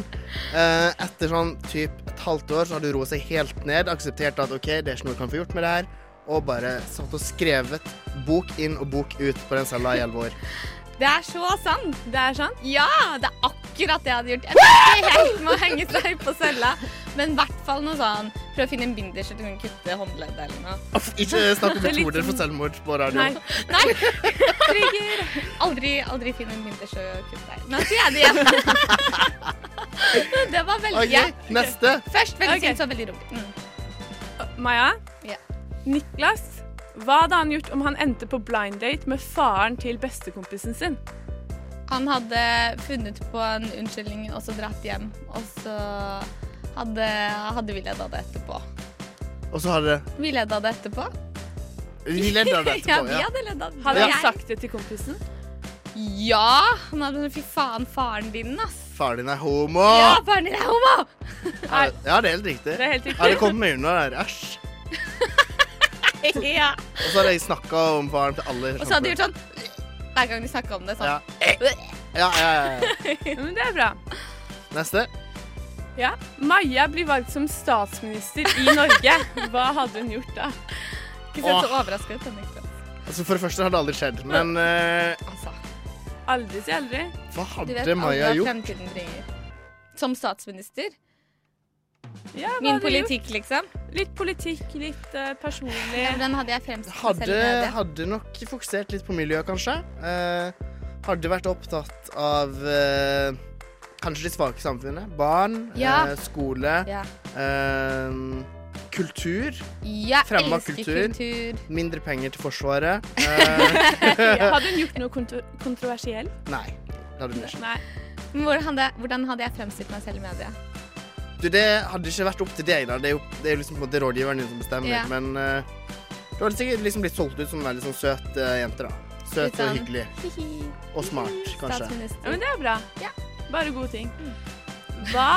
S6: eh, etter sånn typ et halvt år så hadde hun roet seg helt ned, akseptert at OK, det er ikke noe du kan få gjort med det her, og bare satt og skrevet bok inn og bok ut på den cella i elleve år.
S7: Det er så sant. Det er sånn. Ja, det er akkurat det jeg hadde gjort. Jeg vet ikke helt med å henge seg på cella, men i hvert fall noe sånn Prøv å finne en binders så du kan kutte håndleddet eller noe.
S6: Aff, Ikke snakk om metoder for selvmord på radio.
S7: sånn- Nei. Nei. Trigger. Aldri, aldri finn en binders og kutt deg. Nå sier jeg det igjen. Det var veldig
S6: OK, neste.
S7: Først veldig
S8: Ok. Uh,
S7: okay. så veldig rolig. Mm.
S8: Maja?
S7: Ja.
S8: Niklas? Hva hadde han gjort om han endte på blind date med faren til bestekompisen sin?
S7: Han hadde funnet på en unnskyldning og så dratt hjem. Og så hadde, hadde vi ledd av det etterpå.
S6: Og så hadde
S7: Vi ledd av det etterpå.
S6: Vi ledd av det
S7: ja,
S6: etterpå.
S7: vi
S6: Ja.
S7: hadde ledd av det.
S8: Hadde
S7: Jeg-
S8: han sagt det til kompisen?
S7: Ja! Han hadde Fy faen, faren din, ass.
S6: Faren din er homo!
S7: Ja, faren din er homo!
S6: Ja, ja, det er helt riktig.
S8: Det er helt
S6: Ja, det
S8: riktig.
S6: kom meg unna der. Æsj.
S7: ja.
S6: Og så hadde jeg snakka om faren til alle.
S7: Og så hadde de gjort sånn hver gang de snakka om det. sånn.
S6: Ja. Ja, ja, ja, ja.
S8: Men det er bra.
S6: Neste.
S8: Ja. Maja blir valgt som statsminister i Norge. Hva hadde hun gjort da?
S7: Ikke se så overraska ut. da, Niklas.
S6: Altså, for det første har det aldri skjedd, men eh,
S7: Altså,
S8: Aldri si aldri.
S6: hva
S7: du vet
S6: hadde
S7: aldri
S6: Maja
S7: hva
S6: gjort?
S7: fremtiden bringer. Som statsminister. Min
S8: Ja, hva hadde du gjort?
S7: politikk, liksom.
S8: Litt politikk, litt eh, personlig.
S7: Ja, Den hadde jeg fremstilt meg selv
S6: Hadde,
S7: i media.
S6: hadde nok fokusert litt på miljøet, kanskje. Eh, hadde vært opptatt av eh, kanskje de svake i samfunnet. Barn,
S7: Ja.
S6: eh, skole,
S7: Ja.
S6: eh, kultur.
S7: Jeg
S6: Fremma
S7: elsker
S6: kultur.
S7: kultur.
S6: Mindre penger til Forsvaret. Eh,
S8: Hadde hun gjort noe kontro kontroversielt?
S6: nei. Det hadde hun ikke.
S8: Nei.
S7: Men Hvordan hadde, hvordan hadde jeg fremstilt meg selv i media?
S6: Du, det hadde ikke vært opp til deg, da. Det er jo det er jo liksom på en måte rådgiveren din som bestemmer.
S7: Ja.
S6: Men eh, du hadde sikkert liksom blitt solgt ut som en veldig sånn søt eh, jente, da.
S7: Litt
S6: Søt og
S7: sånn,
S6: hyggelig.
S7: Hihi.
S6: Og smart, kanskje.
S8: Ja,
S7: Statsminister.
S8: men det er bra.
S7: Ja. Mm.
S8: Bare gode ting. Hva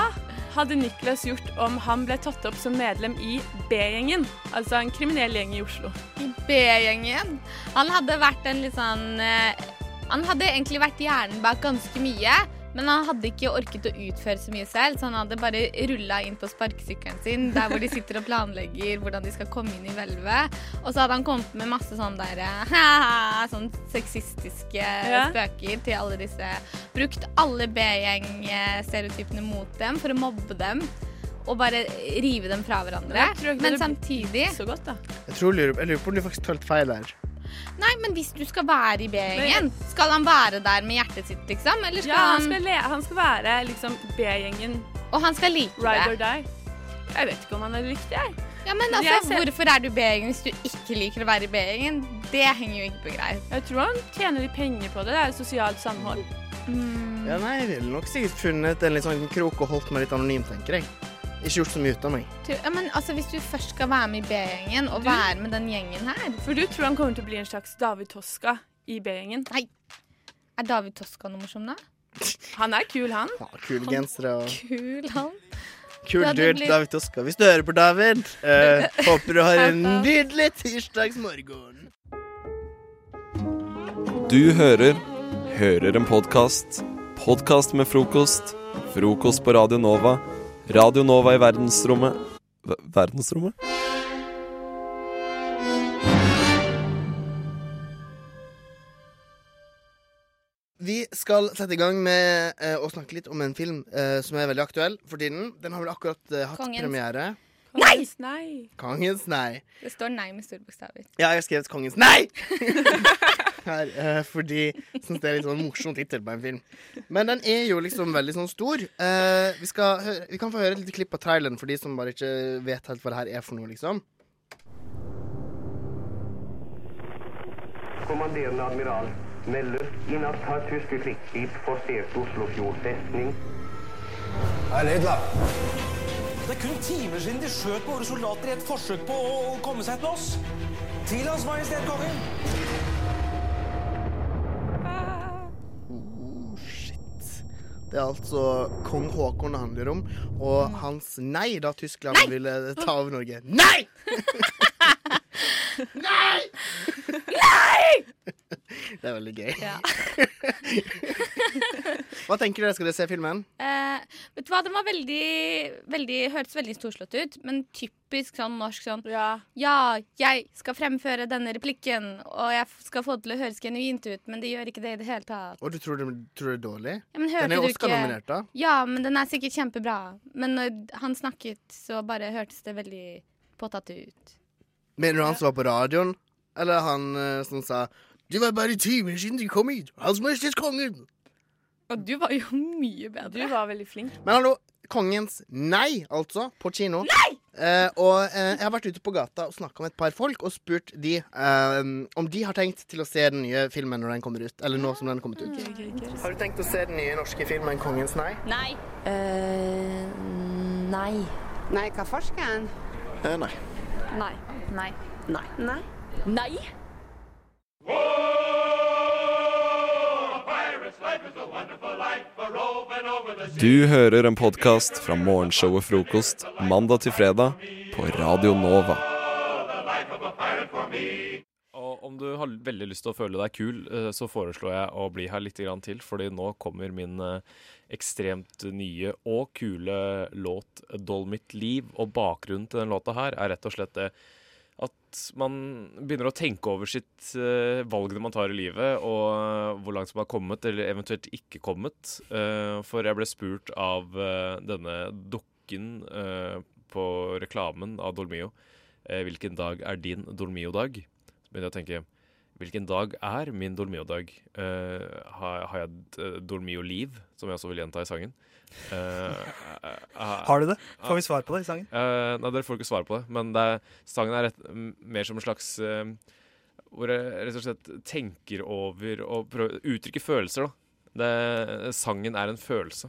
S8: hadde Niklas gjort om han ble tatt opp som medlem i B-gjengen? Altså en kriminell gjeng i Oslo.
S7: I B-gjengen. Han hadde vært en litt sånn eh, Han hadde egentlig vært hjernen bak ganske mye, men han hadde ikke orket å utføre så mye selv, så han hadde bare rulla inn på sparkesykkelen sin, der hvor de sitter og planlegger hvordan de skal komme inn i hvelvet. Og så hadde han kommet med masse sånn der eh, sånn sexistiske
S8: Ja.
S7: spøker til alle disse Brukt alle B-gjeng-stereotypene mot dem for å mobbe dem. Og bare rive dem fra hverandre.
S8: Jeg tror ikke
S7: Men
S8: det hadde
S7: samtidig
S8: Så godt, da.
S6: Jeg, tror, jeg, lurer, jeg lurer på om du faktisk tølte feil der.
S7: Nei, men hvis du skal være i B-gjengen, skal han være der med hjertet sitt, liksom? Eller skal
S8: Ja, han
S7: han
S8: skal, le han skal være liksom B-gjengen
S7: Og han skal like
S8: ride or
S7: det.
S8: die. Jeg vet ikke om han hadde likt det. jeg.
S7: Ja, men
S8: Jeg
S7: altså,
S8: ser-
S7: hvorfor er du B-gjengen hvis du ikke liker å være i B-gjengen? Det henger jo ikke på greip.
S8: Jeg tror han tjener litt penger på det. Det er jo sosialt samhold.
S7: Mm.
S6: Ja, nei, jeg ville nok sikkert funnet en litt sånn krok og holdt meg litt anonym, tenker jeg. Ikke gjort så mye ut av meg.
S7: Tror- Ja, men altså, hvis du først skal være med i B-gjengen, og være med den gjengen her
S8: For du tror han kommer til å bli en slags David Toska i B-gjengen.
S7: Er David Toska noe morsom, da?
S8: Han er kul, han.
S6: Ja, kule gensere og
S7: Kul, han.
S6: kul
S7: Ja, det
S6: dude.
S7: blir-
S6: David Oskar. Hvis du hører på, David, eh, håper du har en nydelig tirsdagsmorgen.
S1: Du hører Hører en podkast. Podkast med frokost. Frokost på Radio Nova. Radio Nova i verdensrommet Ver- Verdensrommet?
S6: Vi skal sette i gang med eh, å snakke litt om en film eh, som er veldig aktuell for tiden. Den har vel akkurat eh, hatt
S7: Kongens.
S6: premiere.
S8: Nei! Nei.
S6: Kongens nei.
S7: Det står nei med store bokstaver.
S6: Ja, jeg har skrevet Kongens nei! Her, eh, fordi jeg syns det er litt sånn morsom tittel på en film. Men den er jo liksom veldig sånn stor. Eh, vi, skal høre, vi kan få høre et lite klipp av traileren for de som bare ikke vet helt hva det her er for noe, liksom.
S9: Kommanderende admiral melder inn at par tyske krigsskip forserte Oslofjord festning.
S10: Hei, Lidla. Det er kun timer siden de skjøt på våre soldater i et forsøk på å å komme seg til oss. Til Hans Majestet Kongen.
S6: Det er altså kong Haakon det handler om, og hans nei da Tyskland ville ta over Norge. Nei! Nei! Det er veldig gøy.
S7: Ja.
S6: Hva tenker dere? Skal dere se filmen?
S7: Eh, vet du hva, den var veldig, veldig Hørtes veldig storslått ut, men typisk sånn norsk sånn
S8: Ja.
S7: jeg skal fremføre denne replikken, og jeg f- skal få det til å høres genuint ut, men det gjør ikke det i det hele tatt.
S6: Og du tror det, tror det er dårlig?
S7: Ja, men hørte
S6: Den er
S7: du ikke-
S6: Oscar-nominert, da.
S7: Ja, men den er sikkert kjempebra. Men når han snakket, så bare hørtes det veldig påtatt ut.
S6: Mener du han som var på radioen? Eller han eh, som sa Det var bare timer siden de kom hit. Hans Majestet Kongen.
S7: Og du var jo mye bedre.
S8: Du var veldig flink.
S6: Men hallo, Kongens Nei, altså, på kino. Nei! Eh, og eh, jeg har vært ute på gata og snakka med et par folk og spurt de eh, om de har tenkt til å se den nye filmen når den kommer ut. Eller nå som den er kommet ut. Har du tenkt å se den nye norske filmen Kongens nei?
S11: Nei.
S12: Eh,
S11: nei. Nei, hva forsker han?
S6: nei.
S11: Nei. Nei. Nei. Nei.
S1: Du hører en podkast fra morgenshowet Frokost mandag til fredag på Radio Nova.
S13: Og om du har veldig lyst til å føle deg kul, eh, så foreslår jeg å bli her litt grann til, fordi nå kommer min eh, ekstremt nye og kule låt 'Doll mitt liv', og bakgrunnen til den låta her er rett og slett det at man begynner å tenke over sitt eh, valg man tar i livet, og eh, hvor langt som har kommet, eller eventuelt ikke kommet. Eh, for jeg ble spurt av eh, denne dukken eh, på reklamen av Dolmio eh, hvilken dag er din Dolmio-dag? Så begynner jeg å tenke hvilken dag er min Dolmio-dag? Eh, har, har jeg et eh, Dolmio-liv, som jeg også vil gjenta i sangen? Eh,
S14: Har du det? Får vi svar på det i sangen?
S13: Eh, nei, dere får ikke svar på det, men det er, sangen er rett, m- mer som en slags eh, Hvor jeg rett og slett tenker over og prøver, uttrykker følelser, da. Det, sangen er en følelse.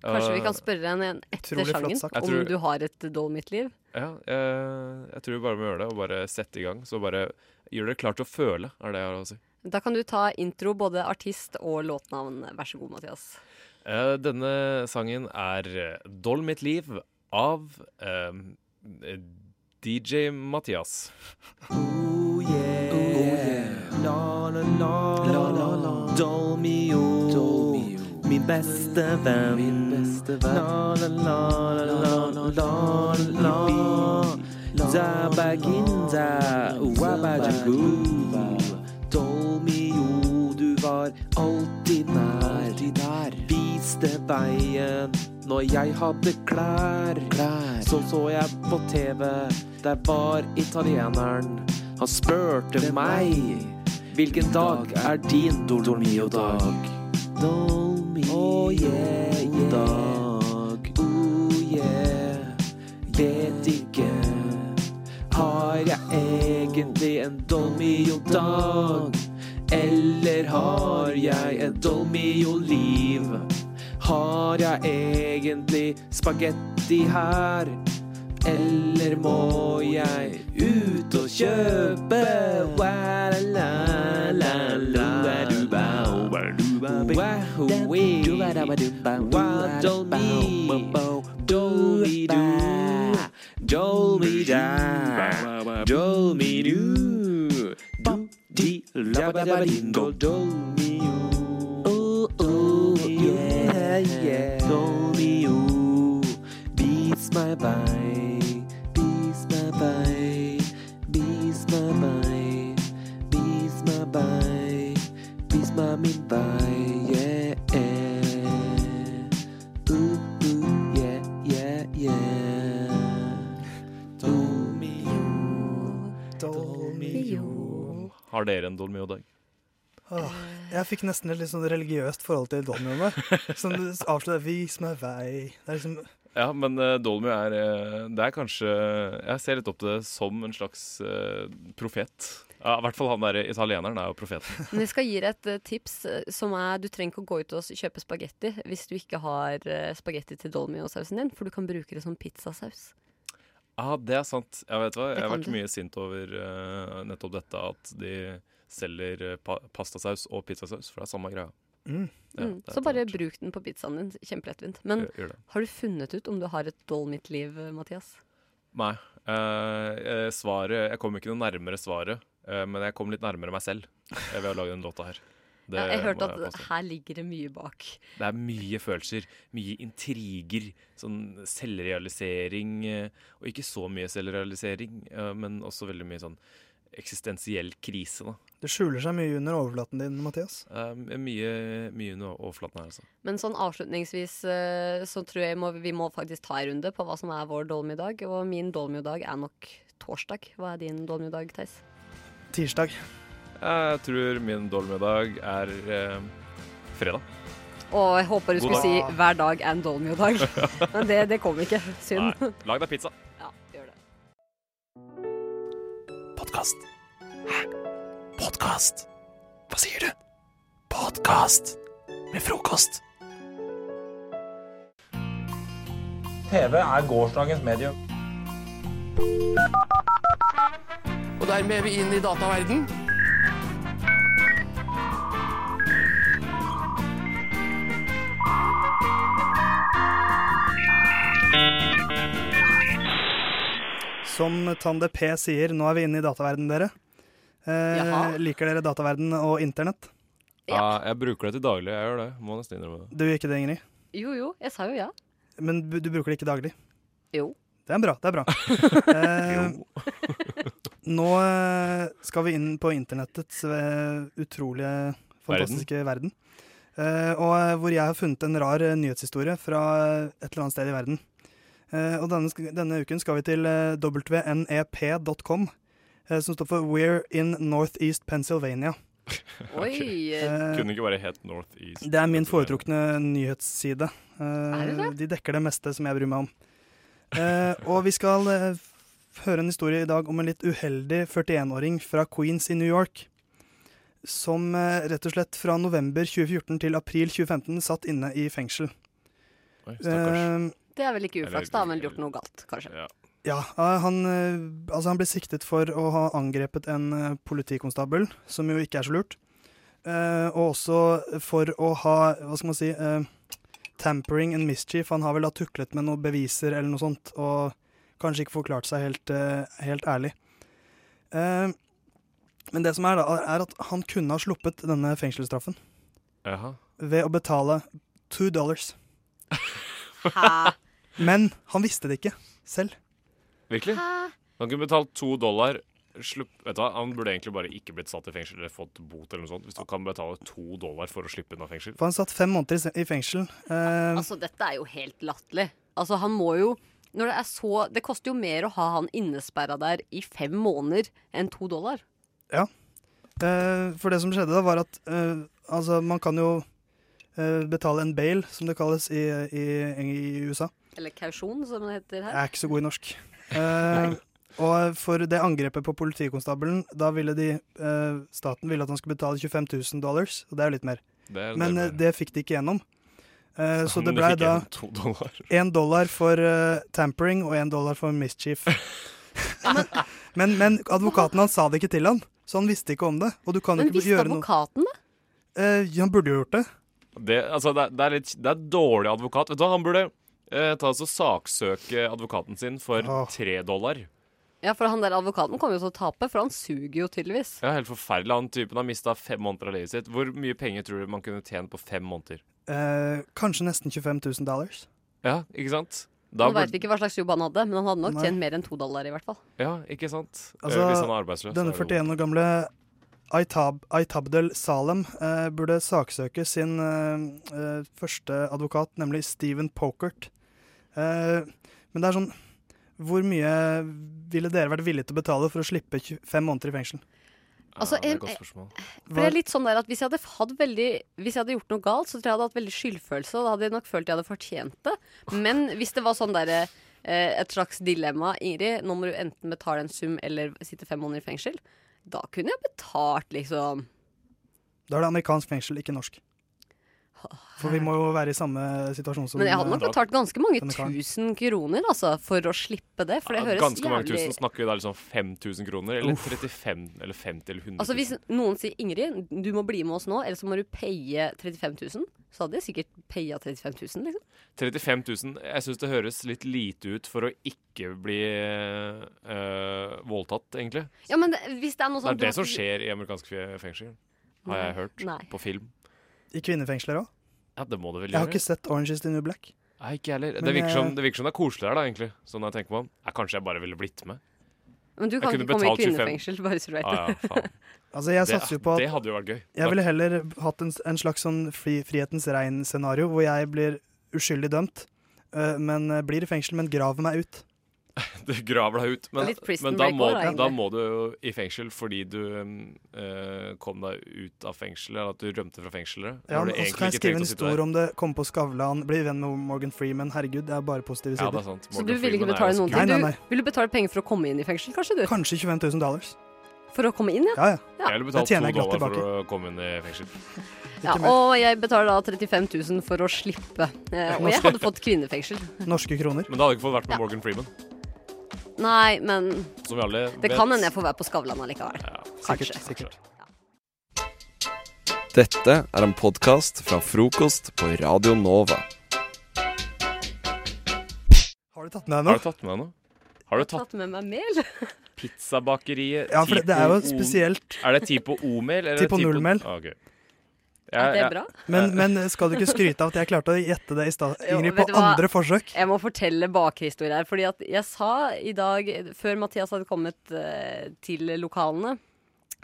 S15: Kanskje vi
S13: Eh,
S15: kan spørre deg igjen etter
S13: Utrolig flott
S15: sangen
S13: sagt. Jeg
S15: om
S13: tror-
S15: du har et doll mitt liv?
S13: Ja, eh, jeg tror vi bare må gjøre det, og bare sette i gang. Så bare gjør dere klar til å føle, er det jeg har å si.
S15: Da kan du ta intro, både artist og låtnavn. Vær så god, Mathias.
S13: Eh, denne sangen er eh, 'Doll mitt liv' av eh, DJ Mathias.
S16: Oh La, la, la. La, la, la. Dolmio. Min beste venn. Min beste venn. La, la, la, la, la, la, la, la. Zabaginda, wabajaboo. Dolmio, du var alltid nær. Viste veien når jeg hadde klær. Så så jeg på TV, der var italieneren. Han spurte meg. Hvilken dag er din Dolmio-dag? Dolmio-dag. Oh yeah. Vet ikke. Har jeg egentlig en Dolmio-dag? Eller har jeg et Dolmio-liv? Har jeg egentlig spagetti her? Eller må jeg ut og kjøpe? Wa-la-la-la-la-la-du-bao. Wa-ho-wee. Wa-dol-mi. Dol-mi-do. Dol-mi-da. Dol-mi-do. Du-di-la-ba-da-ba-dingo. Dol-mi-o. Oh, oh, yeah, yeah. Dol-mi-o. Vis meg vei, vis meg vei, vis meg vei, vis meg vei, vis meg min vei, yeah. Uh, uh, yeah, yeah, yeah.
S14: Dolmio.
S13: Har dere en Dolmio-dag?
S14: Åh, jeg fikk nesten et litt sånn religiøst forhold til dolmioene. Som du avslører 'vis meg vei'. Det er liksom
S13: Ja, men eh, Dolmio er eh, Det er kanskje Jeg ser litt opp til det som en slags eh, profet. Ja, I hvert fall han der italieneren er jo profeten.
S15: Men jeg skal gi deg et eh, tips eh, som er du trenger ikke å gå ut og s- kjøpe spagetti hvis du ikke har eh, spagetti til dolmio-sausen din, for du kan bruke det som pizzasaus.
S13: Ja, det er sant. Jeg vet hva,
S15: Det
S13: jeg har
S15: kan
S13: vært
S15: du.
S13: mye sint over eh, nettopp dette at de selger eh, pa pastasaus og pizzasaus, for det er samme greia.
S14: Mm.
S13: Ja,
S15: mm.
S13: det er
S15: Så bare bruk den på pizzaen din. Kjempelettvint. Men
S13: Gjør- gjør det.
S15: har du funnet ut om du har et doll mitt liv, eh, Mathias?
S13: Nei. Eh, eh, svaret Jeg kom ikke noe nærmere svaret, eh, men jeg kom litt nærmere meg selv eh, ved å lage den låta her. Det
S15: ja, jeg
S13: må
S15: hørte at
S13: påstå.
S15: her ligger det mye bak.
S13: Det er mye følelser, mye intriger, sånn selvrealisering eh, Og ikke så mye selvrealisering, eh, men også veldig mye sånn eksistensiell krise, da.
S14: Det skjuler seg mye under overflaten din, Mathias.
S13: Eh, Mye, mye under overflaten her, altså.
S15: Men sånn avslutningsvis eh, så tror jeg må, vi må faktisk ta en runde på hva som er vår dolmiodag. Og min dolmiodag er nok torsdag. Hva er din dolmiodag, Theis?
S14: Tirsdag.
S13: Jeg tror min dolmiodag er eh, fredag.
S15: Og jeg håper du
S13: God
S15: skulle si
S13: dag.
S15: 'hver dag er en dolmiodag'. Men det, det kom ikke. Synd.
S13: Nei, lag deg pizza.
S15: Ja, gjør det.
S1: Podkast. Hæ? Podkast? Hva sier du? Podkast med frokost.
S10: TV er gårsdagens medium.
S17: Og dermed er vi inn i dataverden.
S14: Som Tande P sier, nå er vi inne i dataverden, dere. Eh,
S13: Jaha.
S14: liker dere dataverden og internett?
S13: Ja. jeg bruker det til daglig, jeg gjør det. Må nesten innrømme det.
S14: Du gjør ikke det, Ingrid.
S15: Jo jo, jeg sa jo ja.
S14: Men bu- du bruker det ikke daglig?
S15: Jo.
S14: Det er bra. det er bra. eh, nå eh, skal vi inn på internettets eh, utrolige, fantastiske verden. Eh, og eh, hvor jeg har funnet en rar eh, nyhetshistorie fra eh, et eller annet sted i verden. Eh, og denne, sk- denne uken skal vi til eh, wnep.com, eh, som står for We're in Northeast Pennsylvania.
S15: Oi.
S14: Eh.
S13: Kunne ikke bare hett Northeast.
S14: Det er min foretrukne nyhetsside. Eh,
S13: det det?
S14: De dekker det meste som jeg bryr meg om. Eh, og vi skal eh, f- høre en historie i dag om en litt uheldig 41-åring fra Queens i New York. Som eh, rett og slett fra november 2014 til april 2015 satt inne i fengsel. Eh,
S13: Oi,
S15: stakkars. Det er vel ikke
S14: Eller-
S15: uflaks, da, men gjort noe galt, kanskje.
S14: Ja, eh, han, eh, altså han ble siktet for å ha angrepet en eh, politikonstabel, som jo ikke er så lurt. Eh, og også for å ha, hva skal man si, eh, tampering and mischief. Han har vel da tuklet med noen beviser eller noe sånt, og kanskje ikke forklart seg helt, eh, helt ærlig. Eh, men det som er da, er at han kunne ha sluppet denne fengselsstraffen
S13: Jaha.
S14: ved å betale two dollars. Men han visste det ikke selv.
S13: Virkelig? Han kunne betalt to dollar. Slupp, vet du hva? Han burde egentlig bare ikke blitt satt i fengsel eller fått bot eller noe sånt. Hvis du kan betale to dollar for å slippe unna fengsel.
S14: For han satt fem måneder i se- i fengsel. Eh,
S15: Altså, dette er jo helt latterlig. Altså, han må jo når det, er så, det koster jo mer å ha han innesperra der i fem måneder enn to dollar.
S14: Ja. Eh, for det som skjedde da, var at eh, altså, man kan jo eh, betale en bail, som det kalles i, i, i USA.
S15: Eller kausjon, som det heter
S14: Jeg er
S15: her.
S14: ikke så god i norsk. Eh, og for det angrepet på politikonstabelen, da ville de eh, Staten ville at han skulle betale 25 000 dollars, og det er jo litt mer.
S13: Det er en
S14: Men
S13: del
S14: eh, det fikk de ikke gjennom. Eh, så
S13: Men
S14: det
S13: de
S14: blei
S13: fikk
S14: da
S13: igjen to dollar.
S14: én dollar for eh, tampering og én dollar for mischief. men, men advokaten hans sa det ikke til han, så han visste ikke om det. Og du kan jo
S15: Men
S14: ikke
S15: visste
S14: gjøre noe.
S15: advokaten det?
S14: Eh, ja, han burde jo gjort det.
S13: Det, altså, det, er- det, er litt, det er dårlig advokat. Vet du hva, han burde eh, ta oss og saksøke advokaten sin for tre dollar.
S15: Ja, for han der advokaten kommer jo til å tape, for han suger jo tydeligvis.
S13: Ja, helt forferdelig. Han typen har mista fem måneder av livet sitt. Hvor mye penger tror du man kunne tjent på fem måneder?
S14: Eh, kanskje nesten 25 000 dollars.
S13: Ja, ikke sant? Da
S15: Nå veit
S13: burde-
S15: vi ikke hva slags jobb han hadde, men han hadde nok
S14: Nei.
S15: tjent mer enn to dollar i hvert fall.
S13: Ja, ikke sant? Eh,
S14: Altså,
S13: Hvis han er arbeidsløs.
S14: denne
S13: så er det
S14: 41 år gamle Aitab, Aitabdel Salem eh, burde saksøke sin eh, eh, første advokat, nemlig Steven Pokert. Eh, men det er sånn Hvor mye ville dere vært villige til å betale for å slippe 25 måneder i fengsel?
S15: Altså,
S14: det er et
S15: em-
S14: godt
S15: em-
S14: spørsmål.
S15: for det er litt sånn der at hvis jeg, hadde hatt veldig, hvis jeg hadde gjort noe galt, så tror jeg jeg hadde hatt veldig skyldfølelse. Og da hadde jeg nok følt jeg hadde fortjent det. Men hvis det var sånn der, eh, et slags dilemma Ingrid, nå må du enten betale en sum eller sitte fem måneder i fengsel, da kunne jeg betalt, liksom.
S14: Da er det amerikansk fengsel, ikke norsk. For vi må jo være i samme situasjon som
S15: Men jeg hadde nok
S14: eh,
S15: betalt ganske mange
S14: denne karen.
S15: tusen kroner altså, for å slippe det. For det høres
S13: Ganske mange
S15: jævlig
S13: tusen. Snakker vi da liksom 5000 kroner? Eller
S14: Uff.
S13: 35 eller 50 eller 100
S15: Altså Hvis noen sier 'Ingrid, du må bli med oss nå, ellers så må du paye 35 000', så hadde jeg sikkert paya 35 000, liksom.
S13: 35 000. Jeg syns det høres litt lite ut for å ikke bli eh, voldtatt, egentlig.
S15: Ja, men det, hvis det er noe
S13: Det
S15: sånn
S13: er det som skjer i amerikanske fe- fengsler, har jeg
S15: Nei.
S13: hørt.
S15: Nei.
S13: På film.
S14: I kvinnefengsler òg.
S13: Ja, det må det vel
S14: Jeg har
S13: gjøre.
S14: ikke sett Orange is the New Black.
S13: Nei, ikke jeg heller.
S14: Men eh,
S13: Det virker,
S14: jeg-
S13: som, det virker som det er koselig her, da, egentlig. Sånn jeg tenker meg om. Ja, kanskje jeg bare ville blitt med.
S15: Men du
S13: Jeg
S15: kan
S13: kunne
S15: ikke komme i
S13: betalt 25.
S15: kvinnefengsel, bare så du vet
S13: Ah, ja, faen.
S14: Altså, jeg
S13: Det-
S14: satser jo på at
S13: det hadde jo vært gøy.
S14: Jeg ville heller hatt en, en slags sånn fri, frihetens regn-scenario, hvor jeg blir uskyldig dømt, øh, men øh, blir i fengsel, men graver meg ut.
S13: Du graver deg ut. Men,
S14: Litt prison
S13: men da,
S14: break
S13: må,
S14: også, da,
S13: da
S14: egentlig.
S13: må du jo i fengsel fordi du mm, eh, kom deg ut av fengselet, eller at du rømte fra fengselet.
S14: Ja,
S13: Når
S14: men
S13: du
S14: også
S13: egentlig
S14: kan jeg
S13: ikke
S14: skrive en
S13: trengte å sitte der.
S14: historie om det, komme på Skavlan, bli venn med Morgan Freeman. Herregud, det er bare positive
S13: Ja,
S14: sider.
S13: det er sant.
S15: Så du ville ikke
S13: altså.
S15: betale noen
S14: Nei,
S15: ting?
S14: nei,
S15: Du
S14: nei.
S15: ville betale penger for å komme inn i fengsel, kanskje? du?
S14: Kanskje 25 000 dollars.
S15: For å komme inn, ja?
S14: Ja, ja.
S13: Jeg ville
S14: Det
S13: betalt
S14: tjener
S13: to
S14: jeg glatt
S13: dollar
S14: tilbake.
S13: for å komme inn i fengsel.
S15: Ja, og jeg betaler da 35 000 for å slippe. Eh, og jeg
S13: altså.
S15: hadde fått kvinnefengsel.
S14: Norske kroner.
S13: Men det hadde ikke fått vært med Morgan Freeman.
S15: Nei, men
S13: Som vi alle
S15: det
S13: vet.
S15: kan hende jeg får være på Skavlan allikevel. Kanskje.
S1: Dette er en podkast fra frokost på Radio Nova.
S14: Har du tatt med deg
S13: Har
S14: noe?
S13: du tatt med deg noe? Har du tatt
S15: Tatt med meg mel?
S13: pizzabakeriet
S14: Ja, for
S13: Ti
S14: det- det er jo
S13: på O-
S14: spesielt.
S13: Er det ti på O-mel? eller er
S14: Ti
S13: det
S14: på null-mel.
S13: Ah, ok.
S15: Er det
S13: Jeg- jeg-
S15: bra?
S14: Men, men skal du ikke skryte av at jeg klarte å gjette det i stad,
S15: Jo,
S14: Ingrid,
S15: vet
S14: på
S15: du hva?
S14: andre forsøk?
S15: Jeg må fortelle bakhistorier her. Fordi at jeg sa i dag, før Mathias hadde kommet eh, til lokalene,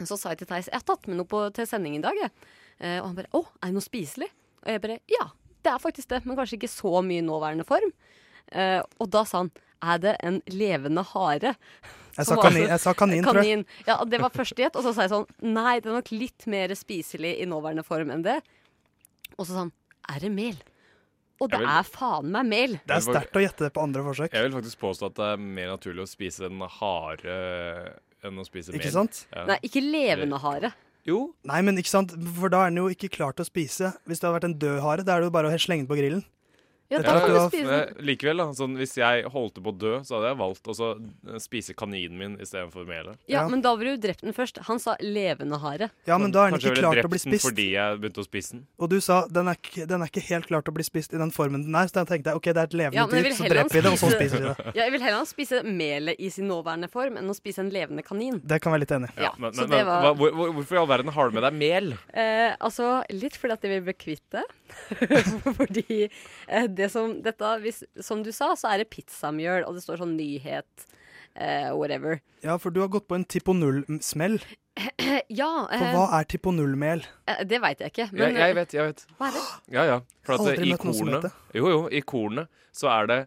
S15: så sa jeg til Theis jeg har tatt med noe på, til sending i dag. Jeg. Eh, og han bare å, er det noe spiselig? Og jeg bare ja, det er faktisk det, men kanskje ikke så mye i nåværende form. Eh, og da sa han er det en levende hare?
S14: Jeg sa
S15: Som var
S14: kanin-
S15: altså-
S14: jeg sa kanin, tror jeg.
S15: kanin. Ja, og Det var første gjett, og så sa jeg sånn Nei, det er nok litt mer spiselig i nåværende form enn det. Og så sa han er det mel? Og det
S13: Jeg vil-
S15: er faen meg mel.
S14: Det er sterkt å gjette det på andre forsøk.
S13: Jeg vil faktisk påstå at det er mer naturlig å spise en hare enn å spise mel.
S14: Ikke sant?
S13: Ja.
S15: Nei, ikke levende hare.
S13: Jo.
S14: Nei, men ikke sant, for da er den jo ikke klar til å spise. Hvis det hadde vært en død hare, da er det jo bare å slenge den på grillen.
S15: Ja,
S14: Dette
S13: Ja,
S14: er jo-
S13: men likevel, da. Sånn, hvis jeg holdt på å dø, så hadde jeg valgt å så spise kaninen min istedenfor melet.
S15: Ja, men da ville du drept den først. Han sa levende hare.
S14: Ja, men da er den
S13: Kanskje jeg
S14: ikke
S13: ville
S14: klar til å
S13: drept
S14: bli
S13: den
S14: spist.
S13: Fordi jeg begynte å spise den.
S14: Og du sa den er, ikke, den er ikke helt klar til å bli spist i den formen den er, så da tenkte jeg ok, det er et
S15: Ja,
S14: levende
S15: men jeg
S14: dyr,
S15: vil
S14: så
S15: heller
S14: dreper vi det, og så
S15: spise-
S14: spiser vi det.
S15: Ja, jeg vil heller spise melet i sin nåværende form enn å spise en levende kanin.
S14: Det kan jeg være litt enig i.
S15: Ja,
S13: men,
S15: så
S13: men,
S15: det
S13: men,
S15: var-
S13: hva- hvor, hvor, hvorfor i all verden har du med deg mel?
S15: Eh, altså, litt fordi at jeg vil bli kvitt det. fordi eh, det som dette hvis, Som du sa, så er det pizzamjøl, og det står sånn nyhet, eh, whatever.
S14: Ja, for du har gått på en Tipo Null-smell.
S15: ja, eh,
S14: For hva er Tipo Null-mel?
S15: eh, Det veit jeg ikke. eh,
S13: Jeg, jeg vet, jeg vet.
S15: Hva er det?
S13: Ja, ja. For at
S14: Aldri
S13: eh, i
S14: møtt noen som
S13: kornet
S14: vet det.
S13: Jo, jo, i kornet så er det